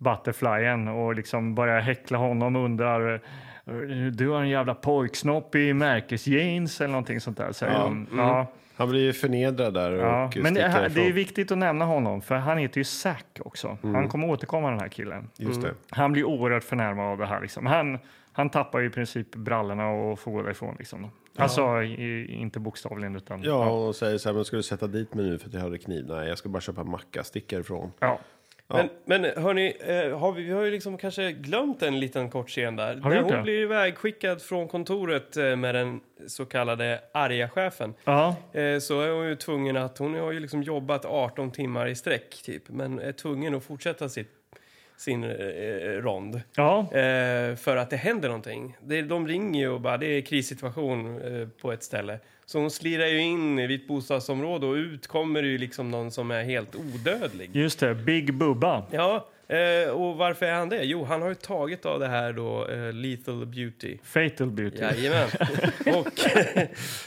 Speaker 3: butterflyen och liksom börjar häckla honom och undrar eh, du har en jävla pojksnopp i märkesjeans eller någonting sånt där. Säger hon. Ja,
Speaker 1: han blir ju förnedrad där.
Speaker 3: ja.
Speaker 1: mm. Och
Speaker 3: Men det,
Speaker 1: sticker
Speaker 3: här- det är
Speaker 1: ifrån. Mm.
Speaker 3: viktigt att nämna honom för han heter ju Zack också. Han kommer återkomma den här killen.
Speaker 1: Just det.
Speaker 3: Han blir oerhört förnärmad av det här. Liksom. Han, han tappar ju i princip brallorna och får gå därifrån. Liksom. Alltså i, inte bokstavligen utan...
Speaker 1: Ja, och säger så här, men ska du sätta dit mig nu för att jag hade kniv? Nej, jag ska bara köpa en macka, sticka ifrån.
Speaker 3: Ja.
Speaker 2: Men, men hörni, eh, har vi, vi har ju liksom kanske glömt en liten kort scen där.
Speaker 3: Har vi
Speaker 2: När
Speaker 3: gjort
Speaker 2: hon
Speaker 3: det?
Speaker 2: blir ivägskickad från kontoret eh, med den så kallade arga chefen.
Speaker 3: Ja.
Speaker 2: Eh, så är hon ju tvungen att, hon har ju liksom jobbat 18 timmar i sträck typ, men är tvungen att fortsätta sitt, sin eh, rond.
Speaker 3: ja.
Speaker 2: Eh, för att det händer någonting. Det, de ringer ju och bara, det är krissituation eh, på ett ställe. Så hon slirar ju in i ett bostadsområde och ut kommer det ju liksom någon som är helt odödlig.
Speaker 3: Just det, Big Bubba.
Speaker 2: Ja, eh, Eh, och varför är han det? Jo, han har ju tagit av det här då, eh, Lethal Beauty.
Speaker 3: Fatal Beauty.
Speaker 2: Jajamän.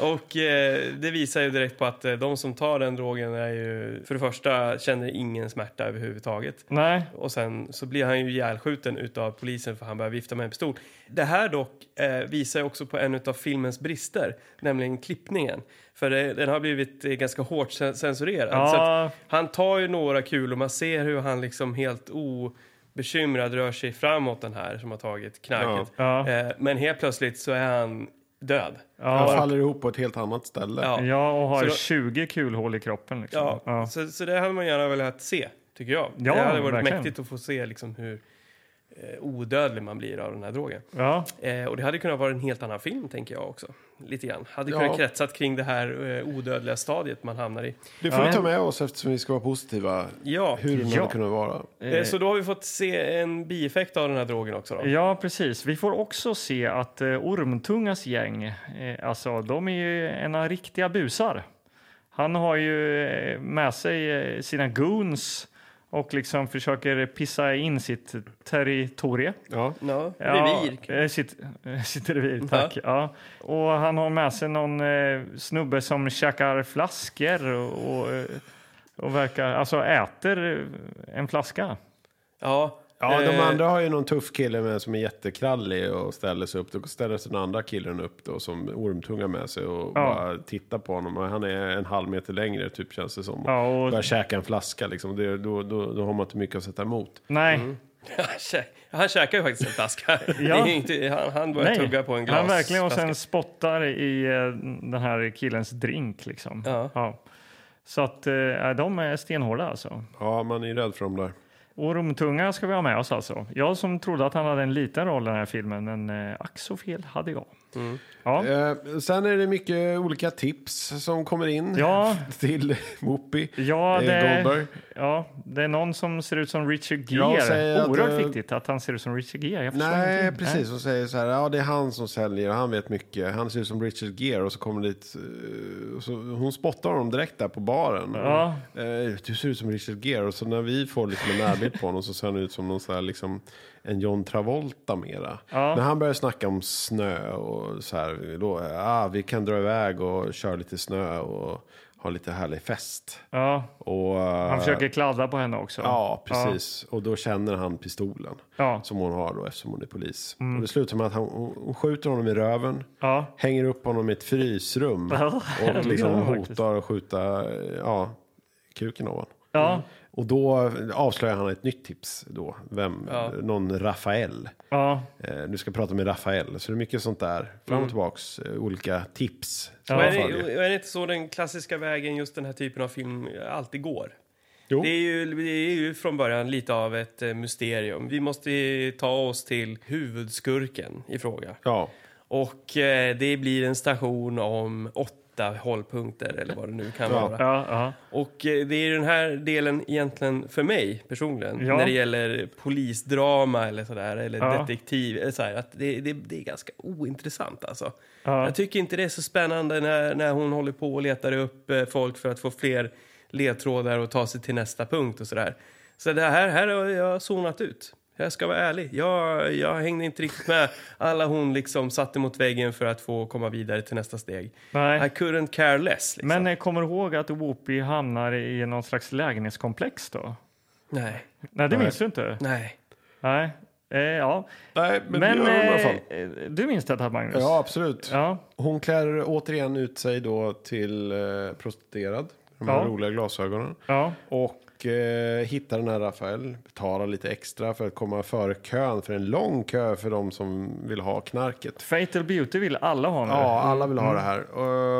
Speaker 2: och och eh, det visar ju direkt på att eh, de som tar den drogen är ju, för det första känner ingen smärta överhuvudtaget.
Speaker 3: Nej,
Speaker 2: Och sen så blir han ju ihjälskjuten utav polisen för han börjar vifta med en pistol. Det här dock eh, visar ju också på en utav filmens brister, nämligen klippningen. För det, den har blivit eh, ganska hårt cen- censurerad.
Speaker 3: Ja.
Speaker 2: Så att han tar ju några kulor, man ser hur han liksom helt obekymrad rör sig framåt den här som har tagit knarket.
Speaker 3: Ja.
Speaker 2: Eh, men helt plötsligt så är han död.
Speaker 1: Han
Speaker 3: ja,
Speaker 1: faller ihop på ett helt annat ställe.
Speaker 2: Ja.
Speaker 3: ja och har
Speaker 2: Så då-
Speaker 3: 20 kulhål i kroppen. Liksom.
Speaker 2: Ja, Så, så det hade man gärna velat se, tycker jag.
Speaker 3: Ja,
Speaker 2: det hade varit
Speaker 3: verkligen.
Speaker 2: mäktigt att få se liksom hur eh, odödlig man blir av den här drogen.
Speaker 3: ja.
Speaker 2: Eh, och det hade kunnat vara en helt annan film, tänker jag också. Lite grann. Hade
Speaker 1: Ja.
Speaker 2: kunnat kretsat kring det här eh, odödliga stadiet man hamnar i.
Speaker 1: Det får vi ta med oss eftersom vi ska vara positiva.
Speaker 2: Ja,
Speaker 1: Hur den
Speaker 3: Ja.
Speaker 1: hade kunnat vara.
Speaker 2: eh, så då har vi fått se en bieffekt av den här drogen också då.
Speaker 3: Ja, precis. Vi får också se att eh, Ormtungas gäng, eh, alltså de är ju ena riktiga busar. Han har ju eh, med sig eh, sina goons och liksom försöker pissa in sitt territorium.
Speaker 1: Ja.
Speaker 2: Ja,
Speaker 3: Ja,
Speaker 2: revir.
Speaker 3: eh, sitt, eh, sitt revir, tack. Ja. Och han har med sig någon eh, snubbe som käkar flaskor och, och, eh, och verkar, alltså äter eh, en flaska.
Speaker 2: Ja,
Speaker 1: Ja, de
Speaker 2: eh,
Speaker 1: andra har ju någon tuff kille med som är jättekrallig och ställer sig upp. Då ställer sig den andra killen upp då som ormtunga med sig och bara tittar på honom. Och han är en halv meter längre typ känns det som.
Speaker 3: Ja, och-
Speaker 1: Börjar käka en flaska liksom. Det, då, då, då har man inte mycket att sätta emot.
Speaker 3: Nej,
Speaker 2: Mm. Han, kä- han käkar ju faktiskt en flaska. Det är ju inte, han, han börjar
Speaker 3: Nej.
Speaker 2: tugga på en glas.
Speaker 3: Han verkligen och sen
Speaker 2: flaska.
Speaker 3: spottar i eh, den här killens drink liksom.
Speaker 2: Ja.
Speaker 3: Så att eh, de är stenhårda alltså.
Speaker 1: Ja, man är ju rädd för dem där.
Speaker 3: Och Romtunga ska vi ha med oss alltså. Jag som trodde att han hade en liten roll i den här filmen, men eh, ack så fel hade jag.
Speaker 2: Mm.
Speaker 3: Ja.
Speaker 1: Eh, sen är det mycket olika tips som kommer in
Speaker 3: Ja.
Speaker 1: till Moopy.
Speaker 3: Ja,
Speaker 1: eh,
Speaker 3: det,
Speaker 1: Goldberg.
Speaker 3: ja, det är någon som ser ut som Richard
Speaker 1: Jag
Speaker 3: Gere.
Speaker 1: säger att,
Speaker 3: Oerhört
Speaker 1: eh,
Speaker 3: viktigt att han ser ut som Richard Gere. Jag förstår
Speaker 1: Nej,
Speaker 3: ingenting.
Speaker 1: precis. Hon säger så här, ja det är han som säljer och han vet mycket. Han ser ut som Richard Gere och så kommer det dit, eh, och så, hon spottar honom direkt där på baren.
Speaker 3: Ja.
Speaker 1: Eh, Du ser ut som Richard Gere och så när vi får liksom en närbild på honom så ser han ut som någon så här, liksom, en John Travolta mera. När han börjar snacka om snö och så här, då, ah, vi kan dra iväg och köra lite snö och ha lite härlig fest.
Speaker 3: Ja,
Speaker 1: Och,
Speaker 3: han försöker kladda på henne också.
Speaker 1: Ja, precis. Och då känner han pistolen
Speaker 3: Ja. Mm.
Speaker 1: som hon har då eftersom hon är polis. Och det slutar med att han, hon hon skjuter honom i röven,
Speaker 3: Ja.
Speaker 1: hänger upp honom i ett frysrum
Speaker 3: Ja, det
Speaker 1: och liksom
Speaker 3: gör han faktiskt.
Speaker 1: hotar att skjuta eh, ja, kuken av honom.
Speaker 3: Ja,
Speaker 1: Och då avslöjar han ett nytt tips då, vem, någon Rafael.
Speaker 3: ja,
Speaker 1: Eh, du ska prata med Rafael, så det är mycket sånt där. Fram
Speaker 3: Mm.
Speaker 1: och tillbaks, eh, olika tips. som
Speaker 2: Och är,
Speaker 1: han
Speaker 2: det,
Speaker 1: följer.
Speaker 2: och är det inte så den klassiska vägen just den här typen av film alltid går?
Speaker 1: Jo.
Speaker 2: Det är, ju, det är ju från början lite av ett eh, mysterium. Vi måste eh, ta oss till huvudskurken i fråga.
Speaker 1: Ja,
Speaker 2: Och eh, det blir en station om åtta hållpunkter eller vad det nu kan vara.
Speaker 3: ja, ja.
Speaker 2: Och eh, det är den här delen egentligen för mig personligen
Speaker 3: Ja.
Speaker 2: när det gäller polisdrama eller sådär eller
Speaker 3: Ja.
Speaker 2: detektiv. Eller så här, att det, det, det är ganska ointressant alltså.
Speaker 3: Ja.
Speaker 2: Jag tycker inte det är så spännande när, när hon håller på och letar upp eh, folk för att få fler ledtrådar och ta sig till nästa punkt och sådär. Så det här, här har jag zonat ut. Jag ska vara ärlig. Jag, jag hängde inte riktigt med alla hon liksom satte mot väggen för att få komma vidare till nästa steg.
Speaker 3: Nej.
Speaker 2: I couldn't care less. Liksom.
Speaker 3: Men eh, kommer du ihåg att Whoopi hamnar i någon slags lägenhetskomplex då?
Speaker 2: Nej,
Speaker 3: Nej, det minns du inte?
Speaker 2: nej.
Speaker 3: Nej. Eh, ja.
Speaker 1: Nej, men, det gör hon i alla fall.
Speaker 3: eh, eh, du minns detta, Magnus?
Speaker 1: Ja, absolut.
Speaker 3: Ja,
Speaker 1: Hon klär återigen ut sig då till eh, prostituerad. De här
Speaker 3: Ja.
Speaker 1: roliga glasögonen.
Speaker 3: ja,
Speaker 1: Och eh, hittar den här Rafael. Betalar lite extra för att komma före kön. För en lång kö för de som vill ha knarket.
Speaker 3: Fatal Beauty vill alla ha nu.
Speaker 1: Ja, alla
Speaker 3: mm.
Speaker 1: vill ha det här.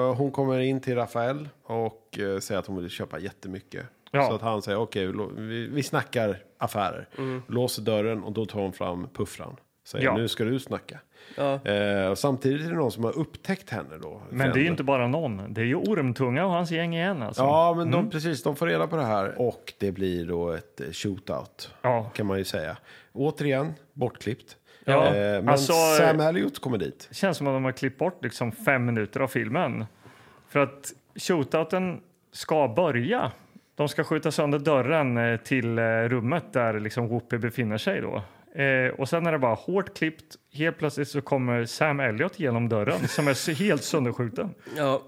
Speaker 1: Eh, hon kommer in till Rafael och eh, säger att hon vill köpa jättemycket.
Speaker 3: Ja.
Speaker 1: Så att han säger okej, lå- vi, vi snackar affärer. Låser dörren och då tar hon fram puffran. Säger
Speaker 3: Mm. Ja.
Speaker 1: nu ska du snacka. Eh, och samtidigt är det någon som har upptäckt henne då.
Speaker 3: Men det är ju
Speaker 1: Frände.
Speaker 3: inte bara någon. Det är ju Ormtunga och hans gäng igen alltså.
Speaker 1: Ja, men de, precis, de får reda på det här och det blir då ett eh, shootout.
Speaker 3: Ja.
Speaker 1: Kan man ju säga. Återigen, bortklippt.
Speaker 3: Ja,
Speaker 1: Eh, men
Speaker 3: alltså, eh,
Speaker 1: Sam Elliot kommer dit.
Speaker 3: Det känns som att de har klippt bort liksom fem minuter av filmen. För att shootouten ska börja De ska skjuta sönder dörren eh, till eh, rummet där liksom Whoopi befinner sig. Då. Eh, och sen är det bara hårt klippt. Helt plötsligt så kommer Sam Elliot genom dörren som är så helt sönderskjuten.
Speaker 2: Ja,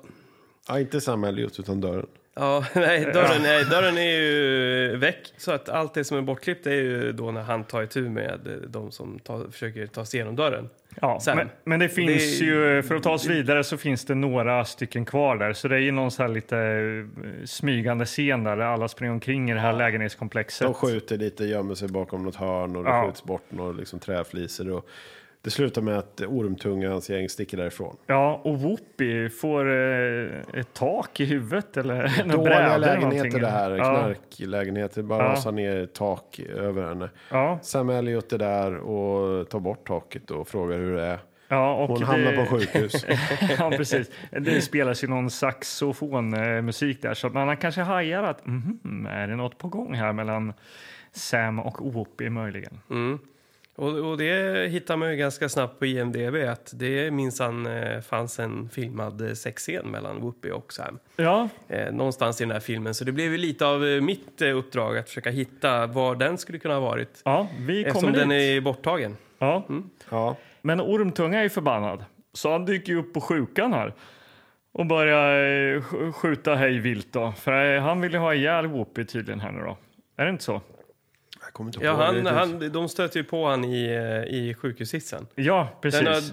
Speaker 1: Ja, inte Sam Elliot utan dörren.
Speaker 2: ja nej, dörren, nej, dörren är ju väck. Så att allt det som är bortklippt är ju då när han tar itu med eh, de som tar, försöker ta sig igenom dörren.
Speaker 3: Ja,
Speaker 2: Sam.
Speaker 3: men, men det finns
Speaker 2: Det-
Speaker 3: ju, eh, för att ta oss vidare så finns det några stycken kvar där. Så det är ju någon så här lite eh, smygande scen där, där alla springer omkring i det här lägenhetskomplexet.
Speaker 1: De skjuter lite, gömmer sig bakom något hörn och det
Speaker 3: Ja.
Speaker 1: skjuts bort några liksom, träflisor. Och det slutar med att Ormtunga och hans gäng sticker därifrån.
Speaker 3: Ja, och Whoopi får eh, ett tak i huvudet eller en bräda
Speaker 1: Dåliga
Speaker 3: eller
Speaker 1: lägenheter
Speaker 3: någonting.
Speaker 1: det här,
Speaker 3: Ja,
Speaker 1: knarklägenheter. Bara
Speaker 3: Ja.
Speaker 1: rasar ner tak över henne.
Speaker 3: ja,
Speaker 1: Sam Elliot är där och tar bort taket och frågar hur det är.
Speaker 3: ja, och
Speaker 1: Hon
Speaker 3: det,
Speaker 1: hamnar på sjukhus.
Speaker 3: ja, precis. Det spelas ju någon saxofonmusik där, så att man kanske hajar att mhm, är det något på gång här mellan Sam och Whoopi möjligen?
Speaker 2: Och, och det hittar man ju ganska snabbt på IMDB att det minsann eh, fanns en filmad eh, sexscen mellan Whoopi och Sam.
Speaker 3: Ja,
Speaker 2: Eh, någonstans i den här filmen. Så det blev ju lite av eh, mitt eh, uppdrag att försöka hitta var den skulle kunna ha varit.
Speaker 3: ja vi kommer
Speaker 2: Eftersom
Speaker 3: dit.
Speaker 2: den är Mm. borttagen.
Speaker 3: Ja.
Speaker 1: Ja.
Speaker 3: Men Ormtunga är ju förbannad, så han dyker ju upp på sjukan här och börjar eh, sk- skjuta hej vilt. Då. För eh, han vill ju ha ihjäl Whoopi tydligen här nu då. Är det inte så?
Speaker 1: Jag kommer inte
Speaker 2: Ja,
Speaker 1: ihåg
Speaker 2: han,
Speaker 1: riktigt.
Speaker 2: han, de stöter ju på han i, eh, i sjukhushissen.
Speaker 3: Ja,
Speaker 2: Den har,
Speaker 3: precis.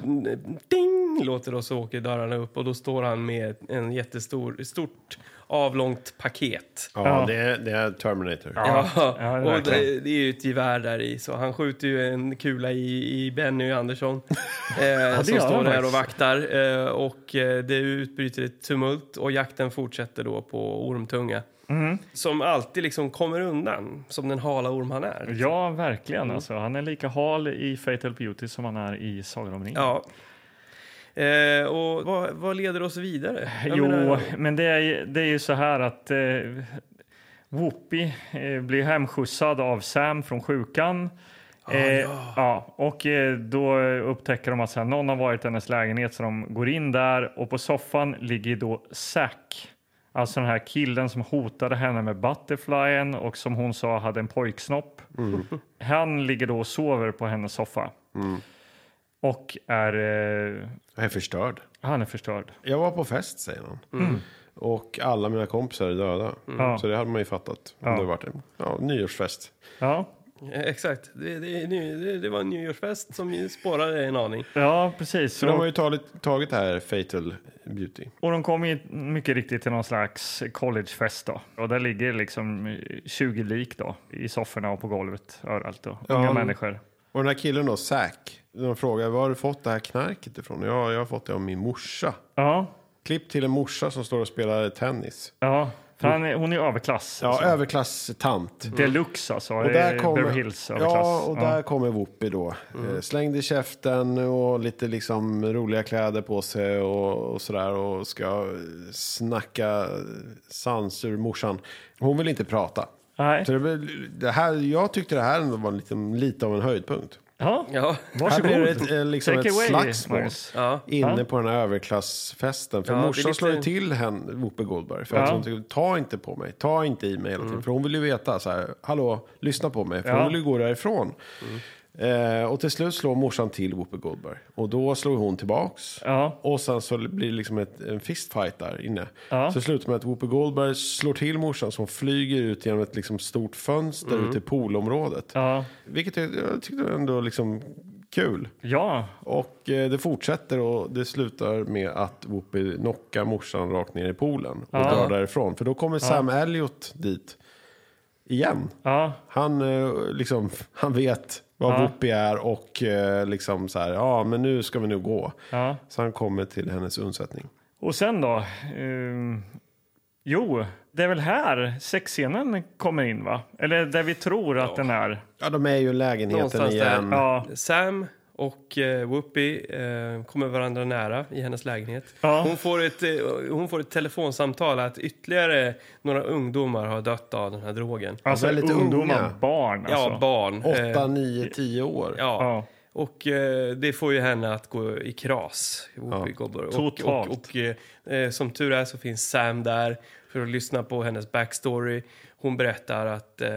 Speaker 2: ding låter det och så åker dörrarna upp och då står han med en jättestor, ett stort avlångt paket.
Speaker 1: Ja, det är, det är Terminator.
Speaker 2: Ja,
Speaker 3: ja,
Speaker 2: och det,
Speaker 3: verkligen.
Speaker 2: det är ju ett gevär där i så han skjuter ju en kula i, i Benny Andersson eh, som
Speaker 3: gör
Speaker 2: står
Speaker 3: han
Speaker 2: där och
Speaker 3: faktiskt.
Speaker 2: vaktar eh, och eh, det utbryter ett tumult och jakten fortsätter då på Ormtunga.
Speaker 3: Mm.
Speaker 2: Som alltid liksom kommer undan som den hala orm han är.
Speaker 3: Ja, verkligen. Alltså, han är lika hal i Fatal Beauty som han är i Sagan om ringen.
Speaker 2: Ja. Eh, och vad, vad leder oss vidare? Jag
Speaker 3: Jo,
Speaker 2: menar-
Speaker 3: men det är, ju- det är ju så här att eh, Whoopi eh, blir hemskjutsad av Sam från sjukan.
Speaker 2: Ah,
Speaker 3: Eh, ja. och eh, då upptäcker de att så här, någon har varit i hennes lägenhet så de går in där och på soffan ligger då Zack. Alltså den här killen som hotade henne med Butterflyen och som hon sa hade en pojksnopp.
Speaker 2: Mm.
Speaker 3: Han ligger då och sover på hennes soffa. Och är... Eh,
Speaker 1: Jag är förstörd.
Speaker 3: han är förstörd.
Speaker 1: Jag var på fest, säger han. Och alla mina kompisar är döda.
Speaker 3: Ja.
Speaker 1: Så det hade man ju fattat. Om det hade varit en ja, nyårsfest.
Speaker 3: Ja.
Speaker 2: Eh, Exakt. Det, det, det, det var en nyårsfest som ju spårade en aning.
Speaker 3: Ja, precis.
Speaker 1: Så de har ju tagit, tagit det här Fatal Beauty.
Speaker 3: Och de kom ju mycket riktigt till någon slags collegefest då. Och där ligger liksom 20 lik då i sofforna och på golvet överallt då. Unga
Speaker 1: Ja.
Speaker 3: människor.
Speaker 1: Och den här killen då, Zack. De frågar, var har du fått det här knarket ifrån? Ja, jag har fått det av min morsa.
Speaker 3: Ja,
Speaker 1: Klipp till en morsa som står och spelar tennis.
Speaker 3: ja. För han är, hon är överklass.
Speaker 1: Ja,
Speaker 3: alltså.
Speaker 1: överklasstant.
Speaker 3: Deluxe alltså.
Speaker 1: Och där
Speaker 3: Beverly
Speaker 1: kommer,
Speaker 3: Hills överklass.
Speaker 1: ja, och där kommer Whoopi då. Mm. Slängd i käften och lite liksom roliga kläder på sig och, och sådär. Och ska snacka sans ur morsan. Hon vill inte prata.
Speaker 3: Nej.
Speaker 1: Så det, blir- det här, jag tyckte det här ändå var lite, lite av en höjdpunkt.
Speaker 3: Ja.
Speaker 2: Ja.
Speaker 3: Varsågod.
Speaker 1: Här blir det ett, eh, liksom
Speaker 3: Take
Speaker 1: ett
Speaker 3: away,
Speaker 1: slagsmål
Speaker 3: Magnus.
Speaker 2: Ja.
Speaker 1: inne på den här överklassfesten. För
Speaker 2: Ja, det är
Speaker 1: morsan
Speaker 2: lite-
Speaker 1: slår ju till henne, Whoopi Goldberg, för
Speaker 3: Ja. Mm.
Speaker 1: att hon tycker ta inte på mig, ta inte i mig hela tiden. För hon vill ju veta, så här, hallå, lyssna på mig, för
Speaker 3: Ja.
Speaker 1: hon vill ju gå därifrån.
Speaker 2: Mm.
Speaker 1: Eh, och till slut slår morsan till Whoopi Goldberg. Och då slår hon tillbaks.
Speaker 3: Ja.
Speaker 1: Och sen så blir det liksom ett, en fistfight där inne.
Speaker 3: Ja.
Speaker 1: Så det slutar med att Whoopi Goldberg slår till morsan så hon flyger ut genom ett liksom stort fönster ut i poolområdet.
Speaker 3: Mm. Ja.
Speaker 1: Vilket jag, jag tyckte ändå liksom kul.
Speaker 3: ja,
Speaker 1: Och eh, det fortsätter och det slutar med att Whoopi knockar morsan rakt ner i poolen och
Speaker 3: Ja.
Speaker 1: drar därifrån. För då kommer Sam Elliot dit igen.
Speaker 3: ja.
Speaker 1: Han, eh, liksom, han vet vad
Speaker 3: Ja.
Speaker 1: Whoopi är och eh, liksom så här, ja men nu ska vi nu gå.
Speaker 3: Ja.
Speaker 1: Så han kommer till hennes undsättning.
Speaker 3: Och sen då? ehm, jo, det är väl här sexscenen kommer in va? Eller där vi tror att den är.
Speaker 1: Ja, de är ju i lägenheten
Speaker 2: Någonstans där.
Speaker 1: igen.
Speaker 3: Ja,
Speaker 2: Sam och eh, Whoopi eh, kommer varandra nära i hennes lägenhet.
Speaker 3: Ja.
Speaker 2: Hon, får ett, eh, hon får ett telefonsamtal att ytterligare några ungdomar har dött av den här drogen.
Speaker 3: alltså
Speaker 1: väldigt
Speaker 3: ungdomar,
Speaker 1: unga.
Speaker 3: barn alltså.
Speaker 2: Ja, barn. Eh,
Speaker 1: åtta nio tio år.
Speaker 2: ja.
Speaker 3: Ja.
Speaker 2: Och eh, det får ju henne att gå i kras. Ja, och, och,
Speaker 3: totalt.
Speaker 2: och eh, som tur är så finns Sam där för att lyssna på hennes backstory. Hon berättar att eh,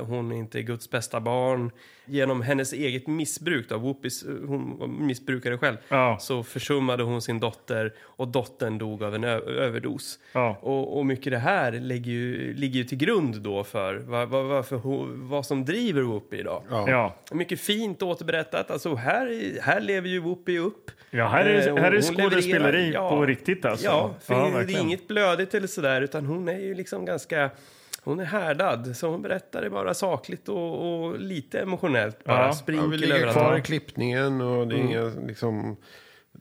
Speaker 2: hon inte är Guds bästa barn. Genom hennes eget missbruk, då, Whoopies, hon var missbrukare själv,
Speaker 3: Ja.
Speaker 2: så försummade hon sin dotter och dottern dog av en ö- överdos.
Speaker 3: Ja.
Speaker 2: Och, och mycket det här ligger ju, ligger ju till grund då för vad, vad, varför hon, vad som driver Whoopi idag.
Speaker 3: Ja.
Speaker 2: Mycket fint återberättat. Alltså här, i- här lever ju Whoopi upp.
Speaker 3: Ja, här är-
Speaker 2: Eh, och
Speaker 3: här
Speaker 2: hon
Speaker 3: är skådespeleri
Speaker 2: levererar-
Speaker 3: på riktigt, alltså.
Speaker 2: Ja, för
Speaker 3: Ja,
Speaker 2: det är
Speaker 3: verkligen.
Speaker 2: inget blödigt eller sådär utan hon är ju liksom ganska... Hon är härdad, så hon berättar det bara sakligt och, och lite emotionellt. Bara
Speaker 3: Ja.
Speaker 1: Ja, vi
Speaker 2: sprinkel
Speaker 1: ligger
Speaker 2: överallt.
Speaker 1: kvar i klippningen och
Speaker 3: Mm.
Speaker 1: det är inga liksom,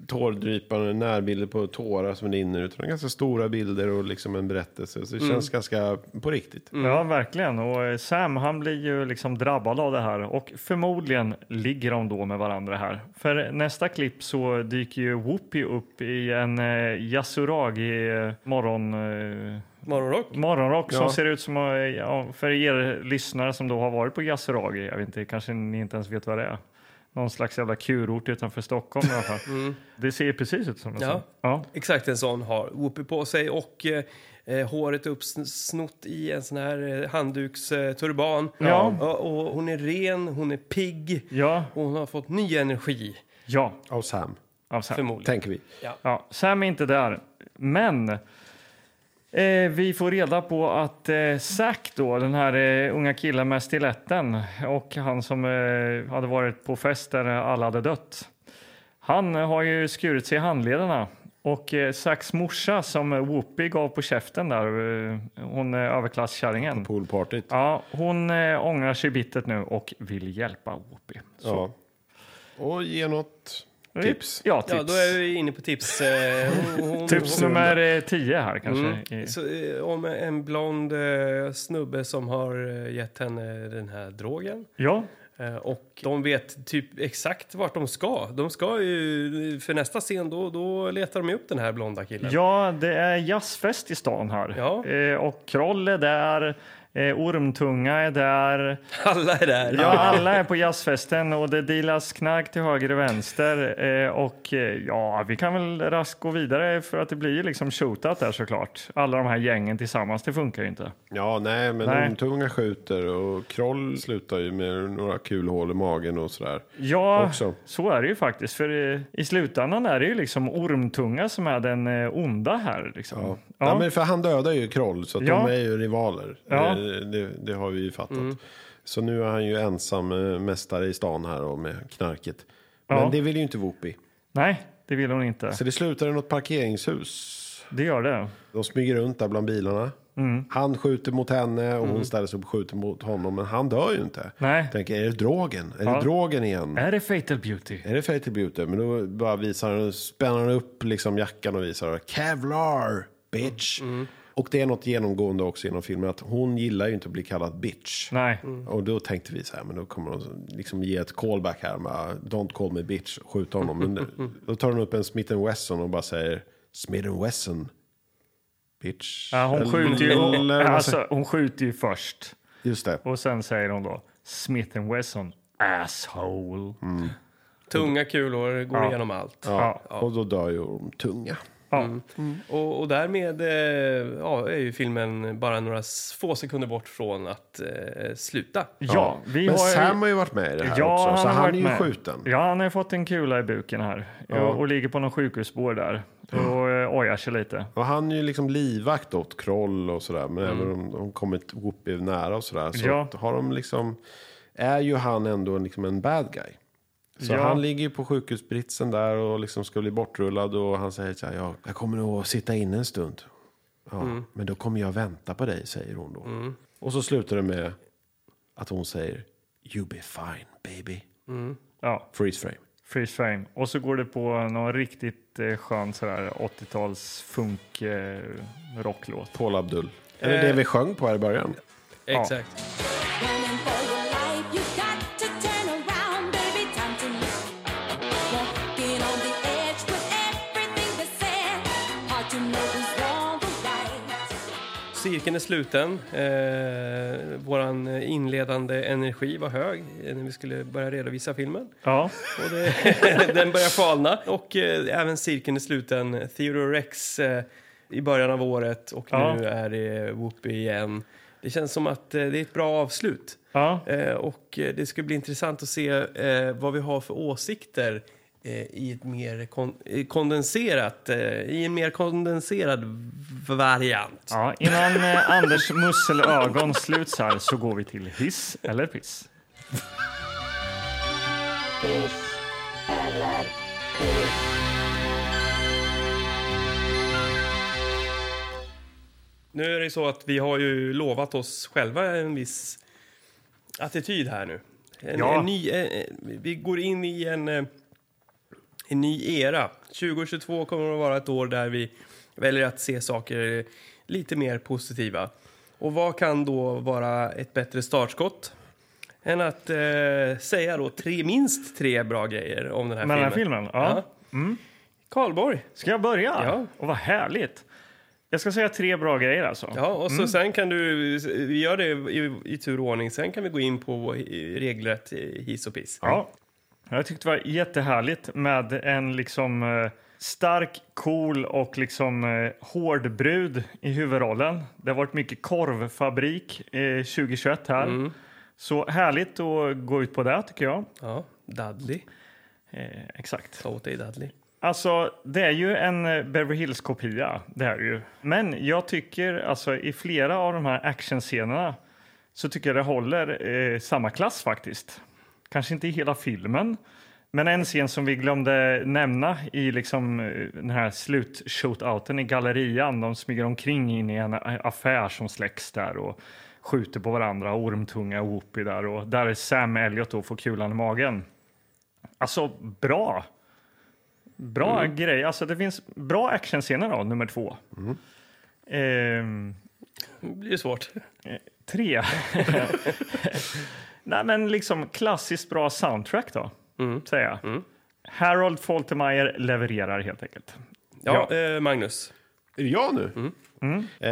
Speaker 1: tårdrypande närbilder på tårar som rinner utan ganska stora bilder och liksom en berättelse. Så det
Speaker 3: Mm.
Speaker 1: känns ganska på riktigt.
Speaker 3: Ja, verkligen. Och eh, Sam han blir ju liksom drabbad av det här och förmodligen ligger de då med varandra här. För nästa klipp så dyker ju Whoopi upp i en eh, Yasuragi eh, morgon... Eh,
Speaker 2: Morgonrock.
Speaker 3: Morgonrock som
Speaker 1: Ja.
Speaker 3: ser ut som, eh, ja, för er lyssnare som då har varit på Yasuragi, jag vet inte, kanske ni inte ens vet vad det är. Någon slags jävla kurort utanför Stockholm i alla fall. Det ser precis ut som en
Speaker 2: Ja.
Speaker 3: sån. Ja.
Speaker 2: Exakt en sån har Whoopi på sig och eh, eh, håret uppsnott i en sån här eh, handduksturban.
Speaker 3: Ja.
Speaker 2: Och, och hon är ren, hon är pigg
Speaker 3: Ja,
Speaker 2: och hon har fått ny energi
Speaker 3: ja,
Speaker 1: Av Sam,
Speaker 3: av Sam.
Speaker 2: förmodligen.
Speaker 1: tänker vi.
Speaker 3: Ja, Sam är inte där. Men eh, vi får reda på att eh, Zack, då, den här eh, unga killen med stiletten och han som eh, hade varit på fest där alla hade dött. Han har ju skurit sig i handlederna. Och eh, Zacks morsa som eh, Whoopi gav på käften där, eh, hon eh, överklasskärringen.
Speaker 1: Poolpartyt.
Speaker 3: Ja, hon eh, ångrar sig bittert nu och vill hjälpa Whoopi.
Speaker 1: Ja. Och ge något tips.
Speaker 3: Ja, tips.
Speaker 2: Ja, då är vi inne på tips. Eh, hon, hon,
Speaker 3: Tips
Speaker 2: hon,
Speaker 3: nummer eh, tio här kanske. i-
Speaker 2: Så, eh, om en blond eh, snubbe som har eh, gett henne den här drogen.
Speaker 3: Ja,
Speaker 2: Eh, Och de vet typ exakt vart de ska. De ska ju, för nästa scen då, då letar de upp den här blonda killen.
Speaker 3: Ja, det är jazzfest i stan här.
Speaker 2: Ja.
Speaker 3: Eh, och Kroll är där, eh, Ormtunga är där.
Speaker 2: Alla är där.
Speaker 3: Ja, alla är på jazzfesten och det dealas knark till höger och vänster. Eh, och eh, ja, vi kan väl raskt gå vidare för att det blir ju liksom shootat där såklart. Alla de här gängen tillsammans, det funkar ju inte.
Speaker 1: Ja, nej, men
Speaker 3: Nej.
Speaker 1: nej. tunga skjuter och Kroll slutar ju med några kulhål i magen och sådär.
Speaker 3: Ja,
Speaker 1: Också.
Speaker 3: så är det ju faktiskt. För eh, i slutändan är det ju liksom Ormtunga som är den eh, onda här. Liksom.
Speaker 1: Ja. Nej, men för han dödar ju Kroll, så att
Speaker 3: Ja.
Speaker 1: de är ju rivaler.
Speaker 3: Ja.
Speaker 1: Det, det, det har vi ju fattat. Så nu är han ju ensam eh, mästare i stan här och med knarket. Men
Speaker 3: Ja.
Speaker 1: det vill ju inte Whoopi.
Speaker 3: Nej, det vill hon inte.
Speaker 1: Så det slutar i något parkeringshus.
Speaker 3: Det gör det.
Speaker 1: De smyger runt där bland bilarna.
Speaker 3: Mm.
Speaker 1: Han skjuter mot henne och hon ställer sig upp och skjuter mot honom. Men han dör ju inte.
Speaker 3: Nej.
Speaker 1: Tänker, är det drogen? Är
Speaker 3: Ja.
Speaker 1: det drogen igen?
Speaker 3: Är det fatal beauty?
Speaker 1: Är det Fatal Beauty? Men då bara visar han, spänner han upp liksom jackan och visar Kevlar, bitch.
Speaker 3: Mm,
Speaker 1: Och det är något genomgående också inom filmen att hon gillar ju inte att bli kallad bitch.
Speaker 3: Nej.
Speaker 1: Och då tänkte vi så här, men då kommer de liksom ge ett callback här. Bara, Don't call me bitch, skjuta honom. Men det- då tar hon upp en Smith Wesson och bara säger Smith Wesson, bitch.
Speaker 3: Ja, hon,
Speaker 1: Eller-
Speaker 3: skjuter ju, hon,
Speaker 1: eller vad säger-
Speaker 3: alltså, hon skjuter ju först
Speaker 1: Just det.
Speaker 3: och sen säger hon då Smith Wesson asshole.
Speaker 1: Mm.
Speaker 2: Tunga kulor går igenom allt.
Speaker 3: Ja.
Speaker 1: Och då dör ju de tunga.
Speaker 3: Ja.
Speaker 1: Mm.
Speaker 2: Och, och därmed eh, ja, är ju filmen bara några s- få sekunder bort från att eh, sluta.
Speaker 3: ja, vi
Speaker 1: Men
Speaker 3: har ju-
Speaker 1: Sam har ju varit med i det här
Speaker 3: Ja,
Speaker 1: också, så han,
Speaker 3: varit
Speaker 1: är ju
Speaker 3: med.
Speaker 1: skjuten.
Speaker 3: Ja, han har ju fått en kula i buken här och, och ligger på någon sjukhusbår där och eh, ojar sig lite.
Speaker 1: Och han är ju liksom livvakt åt Kroll och sådär. Men även om de kommit Whoopi nära och sådär. Så
Speaker 3: Mm. Ja.
Speaker 1: har de liksom, är ju han ändå liksom en bad guy. Så
Speaker 3: Ja.
Speaker 1: han ligger ju på sjukhusbritsen där och liksom ska bli bortrullad. Och han säger så här, ja, jag kommer nog att sitta inne en stund. Ja,
Speaker 3: Mm.
Speaker 1: Men då kommer jag vänta på dig, säger hon då. Och så slutar det med att hon säger, you be fine baby.
Speaker 3: Ja,
Speaker 1: Freeze frame.
Speaker 3: freeze frame. Och så går det på någon riktigt eh, skön sådär 80-tals funk eh, rocklåt.
Speaker 1: Paul Abdul. Eller
Speaker 3: Eh.
Speaker 1: det vi sjöng på här i början.
Speaker 2: Exakt.
Speaker 4: Running for your life, you got to turn around, baby. Time to look. Walking on the edge with everything that's said. Hard to know who's wrong or right.
Speaker 2: Cirkeln är sluten. Eh, våran inledande energi var hög eh, när vi skulle börja redovisa filmen.
Speaker 3: Ja.
Speaker 2: Och det, den börjar falna. Och eh, även cirkeln är sluten. Theodore Rex eh, i början av året och
Speaker 3: Ja.
Speaker 2: nu är det Whoopi igen. Det känns som att eh, det är ett bra avslut.
Speaker 3: Ja.
Speaker 2: Eh, och eh, det ska bli intressant att se eh, vad vi har för åsikter eh, i ett mer kon- eh, kondenserat, eh, i en mer kondenserad v- variant.
Speaker 3: Ja, innan eh, Anders musselögon sluts här så går vi till hiss eller piss.
Speaker 2: Nu är det ju så att vi har ju lovat oss själva en viss attityd här nu. En,
Speaker 3: Ja.
Speaker 2: en ny, eh, eh, vi går in i en, eh, en ny era. 2022 kommer att vara ett år där vi väljer att se saker lite mer positiva. Och vad kan då vara ett bättre startskott än att eh, säga då tre, minst tre bra grejer om den här
Speaker 3: Med den
Speaker 2: filmen?
Speaker 3: här filmen? Ja. Mm.
Speaker 2: Karlborg.
Speaker 3: Ska jag börja?
Speaker 2: Ja.
Speaker 3: Och vad härligt. Jag ska säga tre bra grejer alltså.
Speaker 2: Ja, och så sen kan du, vi gör det i, i tur och ordning, sen kan vi gå in på regelrätt hiss och piss.
Speaker 3: Ja. Jag tyckte det var jättehärligt med en liksom eh, stark, cool och liksom eh, hård brud i huvudrollen. Det har varit mycket korvfabrik eh, 2021 här.
Speaker 2: Mm.
Speaker 3: Så härligt att gå ut på det tycker jag.
Speaker 2: Ja, Dudley.
Speaker 3: Eh, exakt.
Speaker 2: Ta åt dig Dudley.
Speaker 3: Alltså, det är ju en eh, Beverly Hills-kopia. Det är det ju. Men jag tycker alltså i flera av de här actionscenerna så tycker jag det håller eh, samma klass faktiskt. Kanske inte i hela filmen. Men en scen som vi glömde nämna i liksom eh, den här slutshootouten i gallerian. De smyger omkring in i en a- affär som släcks där och skjuter på varandra. Ormtunga och Whoopi där. Och där är Sam Elliot och får kulan i magen. Alltså, bra! Bra
Speaker 2: Mm.
Speaker 3: grej. Alltså, det finns bra actionscener då, nummer två.
Speaker 2: Mm.
Speaker 3: Ehm,
Speaker 2: Det blir ju svårt.
Speaker 3: tre. Nej, men liksom klassiskt bra soundtrack då,
Speaker 2: Mm.
Speaker 3: säger jag. Harold Faltermeyer levererar helt enkelt.
Speaker 2: Ja, Eh, Magnus.
Speaker 1: Är det jag nu? Eh,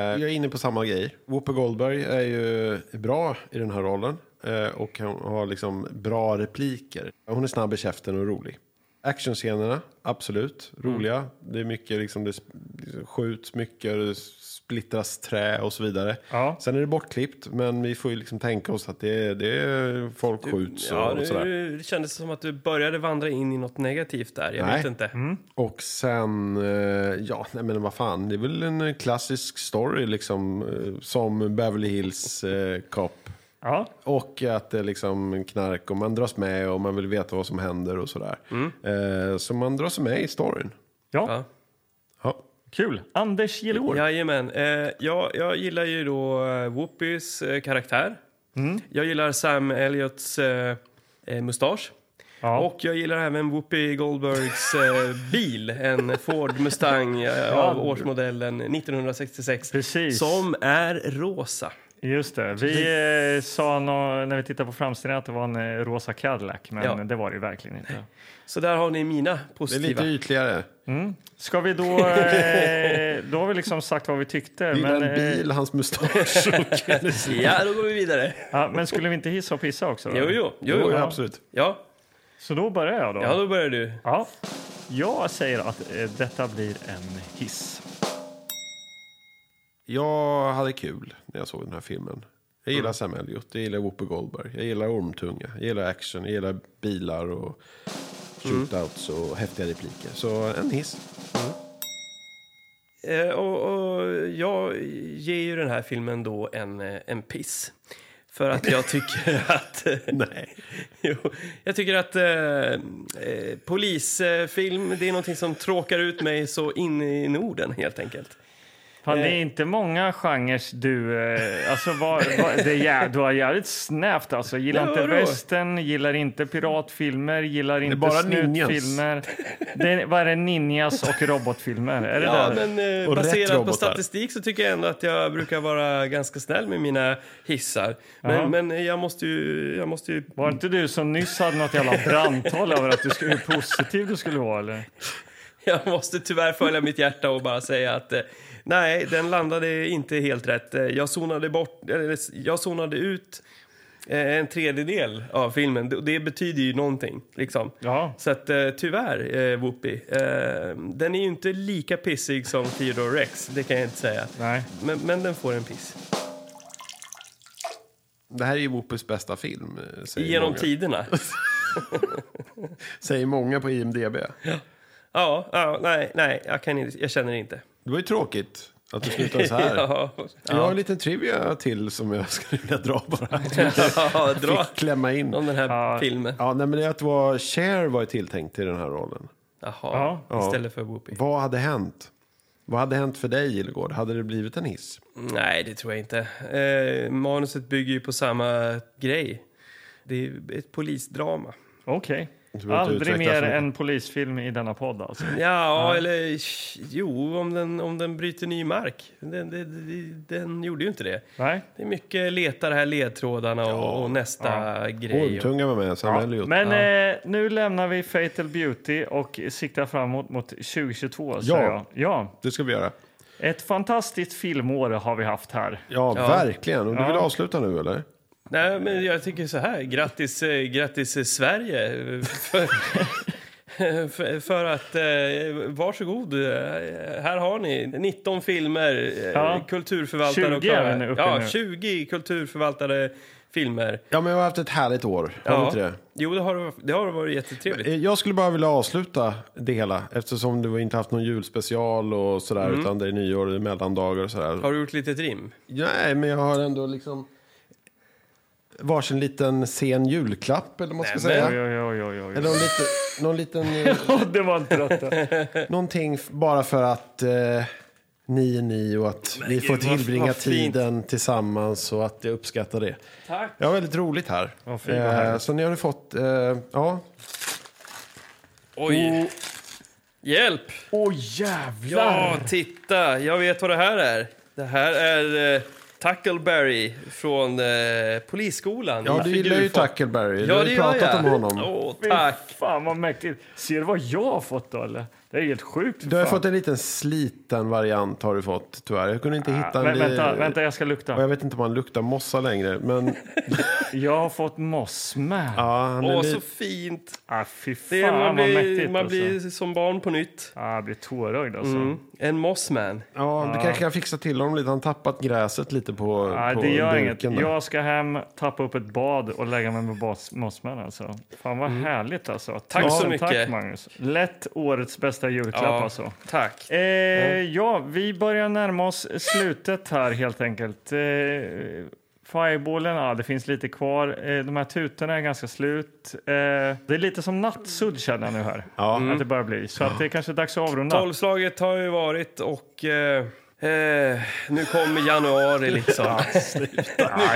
Speaker 1: jag är inne på samma grej. Whoopi Goldberg är ju bra i den här rollen. Eh, och hon har liksom bra repliker. Hon är snabb i käften och rolig. Actionscenerna, absolut. Roliga. Det är mycket liksom, det sp- skjuts mycket, det splittras trä och så vidare.
Speaker 3: Ja.
Speaker 1: Sen är det bortklippt, men vi får ju liksom tänka oss att det, det är folk skjuts och,
Speaker 2: Ja,
Speaker 1: och sådär.
Speaker 2: nu, det kändes som att du började vandra in i något negativt där. Jag
Speaker 1: Nej.
Speaker 2: vet inte.
Speaker 1: Och sen, eh, ja, nej men vad fan, det är väl en eh, klassisk story liksom, eh, som Beverly Hills eh, Cop.
Speaker 3: Ja,
Speaker 1: Och att det är liksom knark och man dras med och man vill veta vad som händer och sådär. Eh, så man dras med i storyn.
Speaker 3: ja.
Speaker 2: Ja.
Speaker 1: Ja.
Speaker 3: kul. Anders Gillor.
Speaker 2: Jajamän. Eh, jag, jag gillar ju då eh, Whoopis eh, karaktär. Jag gillar Sam Elliots eh, eh, mustasch.
Speaker 3: Ja.
Speaker 2: Och jag gillar även Whoopi Goldbergs eh, bil, en Ford Mustang eh, av årsmodellen 1966.
Speaker 3: Precis.
Speaker 2: Som är rosa.
Speaker 3: Just det. Vi eh, sa nå- när vi tittade på framsidan att det var en eh, rosa Cadillac, men
Speaker 2: Ja.
Speaker 3: det var det ju verkligen inte.
Speaker 2: Så där har ni mina
Speaker 1: Det är
Speaker 2: positiva.
Speaker 1: lite ytligare.
Speaker 3: Ska vi då... Eh, då har vi liksom sagt vad vi tyckte.
Speaker 1: Gillar
Speaker 3: Men,
Speaker 1: en
Speaker 3: eh,
Speaker 1: bil, hans mustasch och hennes...
Speaker 2: Ja, då går vi vidare.
Speaker 3: ja, men skulle vi inte hissa och pissa också? Då?
Speaker 2: Jo, jo, jo.
Speaker 1: Jo,
Speaker 2: jo.
Speaker 1: ja, absolut.
Speaker 2: Ja,
Speaker 3: Så då börjar jag då.
Speaker 2: ja då börjar du.
Speaker 3: Ja. Jag säger att eh, detta blir en hiss.
Speaker 1: Jag hade kul när jag såg den här filmen. Jag
Speaker 2: Mm.
Speaker 1: gillar Sam Elliot, jag gillar Whoopi Goldberg, jag gillar ormtunga, jag gillar action, jag gillar bilar och
Speaker 2: Mm.
Speaker 1: shootouts och häftiga repliker. Så en hiss.
Speaker 2: Eh, och, och jag ger ju den här filmen då en, eh, en piss. För att jag tycker att... Nej. jo, jag tycker att eh, eh, polisfilm, det är någonting som tråkar ut mig så in i Norden helt enkelt.
Speaker 3: Fan,
Speaker 2: Eh.
Speaker 3: det är inte många genrer du... Eh, alltså, var, var, det är, jä- du har jävligt snävt. Alltså. Gillar
Speaker 2: Ja,
Speaker 3: inte
Speaker 2: vadå?
Speaker 3: western, gillar inte piratfilmer, gillar inte
Speaker 1: bara
Speaker 3: snutfilmer. Det är, vad är det? Ninjas och robotfilmer? Är det
Speaker 2: Ja,
Speaker 3: där?
Speaker 2: men eh,
Speaker 1: Och rätt
Speaker 2: baserat på
Speaker 1: robotar.
Speaker 2: statistik så tycker jag ändå att jag brukar vara ganska snäll med mina hissar.
Speaker 3: Jaha.
Speaker 2: Men, men jag måste ju... Jag måste ju
Speaker 3: Var inte du som nyss hade något jävla brandtal över att du skulle, hur positiv du skulle vara? Eller?
Speaker 2: Jag måste tyvärr följa mitt hjärta och bara säga att eh, Nej, den landade inte helt rätt. Eh, Jag zonade, bort, eller, jag zonade ut eh, en tredjedel av filmen. Det- Det betyder ju någonting. Liksom. Så att, eh, tyvärr, eh, Whoopi. Eh, den är ju inte lika pissig som Theodore Rex, det kan jag inte säga.
Speaker 3: Nej.
Speaker 2: Men, men den får en piss.
Speaker 1: Det här är ju Whoopers bästa film. eh, Säger
Speaker 2: Genom
Speaker 1: många.
Speaker 2: tiderna.
Speaker 1: Säger många på IMDB. Ja.
Speaker 2: Ja, ja nej, nej jag, kan inte, jag känner inte.
Speaker 1: Det var ju tråkigt att du slutade så här.
Speaker 2: ja,
Speaker 1: Jag har
Speaker 2: ja.
Speaker 1: en liten trivia till som jag skulle vilja dra bara.
Speaker 2: Ja, dra.
Speaker 1: Fick klämma in.
Speaker 2: Om den här filmen.
Speaker 1: Ja, nej, men det är att det var Cher var ju tilltänkt till den här rollen.
Speaker 2: Jaha,
Speaker 1: Ja.
Speaker 2: istället för Whoopi.
Speaker 1: Vad hade hänt? Vad hade hänt för dig, Gillegård? Hade det blivit en hiss?
Speaker 2: Nej, det tror jag inte. Eh, manuset bygger ju på samma grej. Det är ett polisdrama.
Speaker 3: Okej.
Speaker 1: behöver inte
Speaker 3: Aldrig
Speaker 1: utveckla
Speaker 3: mer
Speaker 1: så mycket.
Speaker 3: en polisfilm i denna podd alltså.
Speaker 2: Ja, eller sh- jo, om den, om den bryter ny mark. Den, den, den gjorde ju inte det.
Speaker 3: Nej.
Speaker 2: Det är mycket leta de här ledtrådarna och, och nästa grej. Och,
Speaker 1: Ormtunga var med, Sam Elliot.
Speaker 3: Men eh, nu lämnar vi Fatal Beauty och siktar framåt mot 2022. säger
Speaker 1: Ja.
Speaker 3: jag. ja.
Speaker 1: Det ska vi göra.
Speaker 3: Ett fantastiskt filmår har vi haft här.
Speaker 1: Ja, verkligen. Och du vill avsluta nu, eller?
Speaker 2: nej, men jag tycker så här. Grattis, eh, grattis eh, Sverige. eh, För, för, för att, eh, varsågod, eh, här har ni 19 filmer, eh,
Speaker 3: Ja.
Speaker 2: kulturförvaltare
Speaker 3: 20
Speaker 2: och klara.
Speaker 3: är vi nu uppe
Speaker 2: ja,
Speaker 3: nu.
Speaker 2: 20 kulturförvaltade filmer.
Speaker 1: Ja, men jag har haft ett härligt år. Har du inte det?
Speaker 2: Jo, det har, det har varit jättetrevligt.
Speaker 1: Eh, Jag skulle bara vilja avsluta det hela eftersom du inte haft någon julspecial och sådär utan det är nyår och det är mellandagar och sådär.
Speaker 2: Mm. Har du gjort lite rim?
Speaker 1: Nej, men jag har ändå liksom varsin liten sen julklapp eller vad man ska
Speaker 2: Nej,
Speaker 1: säga.
Speaker 2: men-
Speaker 3: Oj, oj, oj, oj, oj.
Speaker 1: Eller någon, lite, någon liten, eh,
Speaker 3: Åh, det var inte rätt.
Speaker 1: någonting f- bara för att eh, ni är ni och att vi får
Speaker 2: gud, vad-
Speaker 1: tillbringa
Speaker 2: vad fint.
Speaker 1: tiden tillsammans och att jag uppskattar det.
Speaker 2: Tack.
Speaker 1: Jag har väldigt roligt här. Eh,
Speaker 3: Vad fint, vad härligt.
Speaker 1: så ni har ju fått, eh, ja,
Speaker 3: Oh.
Speaker 2: Oj! Hjälp!
Speaker 3: Åh jävlar!
Speaker 2: Ja, titta! Jag vet vad det här är. Det här är eh, Tackleberry från eh, Polisskolan.
Speaker 1: ja du
Speaker 2: i
Speaker 1: gillar ju
Speaker 2: figurform.
Speaker 1: Tackleberry. Du
Speaker 2: Ja,
Speaker 1: har
Speaker 2: det
Speaker 1: ju
Speaker 2: gör
Speaker 1: pratat
Speaker 2: jag.
Speaker 1: om honom.
Speaker 2: Åh,
Speaker 3: Fy
Speaker 2: tack!
Speaker 3: fan vad mäktigt. Ser du vad jag har fått då eller? Det är helt sjukt.
Speaker 1: Du har ju
Speaker 3: fan.
Speaker 1: fått en liten sliten variant har du fått tyvärr. Jag kunde inte hitta en.
Speaker 3: Ah, Vä-
Speaker 1: li-
Speaker 3: vänta, vänta, jag ska
Speaker 1: Och jag
Speaker 3: lukta.
Speaker 1: vet inte om han luktar mossa längre. Men
Speaker 3: Jag har fått mossman.
Speaker 1: ja, han är
Speaker 2: Åh,
Speaker 1: li-
Speaker 2: så fint!
Speaker 3: Ah, fy fan
Speaker 2: Det, man
Speaker 3: vad
Speaker 2: blir,
Speaker 3: mäktigt.
Speaker 2: man
Speaker 3: alltså.
Speaker 2: blir Mm. som barn på nytt.
Speaker 3: Ah, jag blir tårögd alltså.
Speaker 2: En mossman.
Speaker 1: ja, du kanske kan fixa till honom lite. Han tappat gräset lite på,
Speaker 3: Nej,
Speaker 1: på
Speaker 3: Ah. det gör inget.
Speaker 1: burken där.
Speaker 3: Jag ska hem, tappa upp ett bad och lägga mig med bas- Mossman. Alltså. Fan vad härligt alltså. Tack
Speaker 2: så
Speaker 3: Tusen
Speaker 2: mycket.
Speaker 3: Tack Magnus. Lätt årets bästa julklapp
Speaker 2: Ja,
Speaker 3: alltså.
Speaker 2: tack.
Speaker 3: Eh, ja, vi börjar närma oss slutet här helt enkelt. Eh, Fireballen, ja det finns lite kvar. Eh, de här tutorna är ganska slut. Eh, det är lite som nattsudd känner jag nu här. Att det börjar bli. Så att det är kanske dags att avrunda.
Speaker 2: Tolvslaget har ju varit och... Eh, eh, nu kommer januari liksom. nu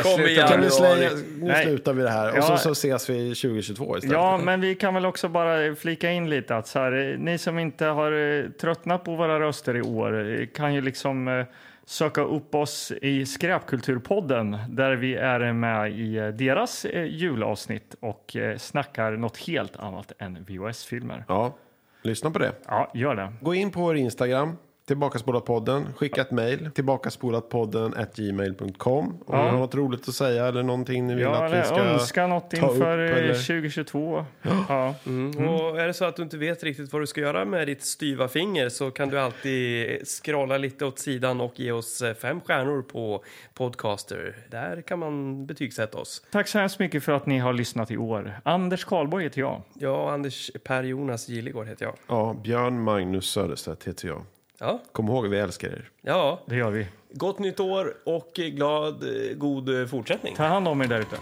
Speaker 2: kommer
Speaker 1: Jag kan nu, slä,
Speaker 2: januari.
Speaker 1: nu
Speaker 3: Nej.
Speaker 1: slutar vi det här och
Speaker 3: Ja.
Speaker 1: så, så ses vi 2022 istället.
Speaker 3: Ja, men vi kan väl också bara flika in lite att så här, eh, ni som inte har eh, tröttnat på våra röster i år eh, kan ju liksom eh, söka upp oss i Skräpkulturpodden där vi är med i eh, deras eh, julavsnitt och eh, snackar något helt annat än VHS-filmer.
Speaker 1: Ja, lyssna på det.
Speaker 3: Ja, gör det.
Speaker 1: Gå in på vår Instagram, tillbakaspolatpodden, skicka ett mejl, tillbakaspolatpodden at gmail.com. Om ni har något roligt att säga eller någonting ni vill
Speaker 3: Ja,
Speaker 1: att vi ska...
Speaker 3: eller önska något
Speaker 1: ta upp,
Speaker 3: inför eh,
Speaker 1: eller?
Speaker 3: 2022. Ja.
Speaker 2: Och är det så att du inte vet riktigt vad du ska göra med ditt styva finger så kan du alltid scrolla lite åt sidan och ge oss eh, fem stjärnor på Podcaster. Där kan man betygsätta oss.
Speaker 3: Tack så hemskt mycket för att ni har lyssnat i år. Anders Karlborg heter jag.
Speaker 2: Jag och Anders Per Jonas Gillegård heter jag.
Speaker 1: Ja, Björn Magnus Söderstedt heter jag.
Speaker 2: Ja,
Speaker 1: Kom ihåg, vi älskar er.
Speaker 2: ja.
Speaker 3: Det gör vi.
Speaker 2: Gott nytt år och glad, eh, god eh, fortsättning.
Speaker 3: Ta hand om er där ute.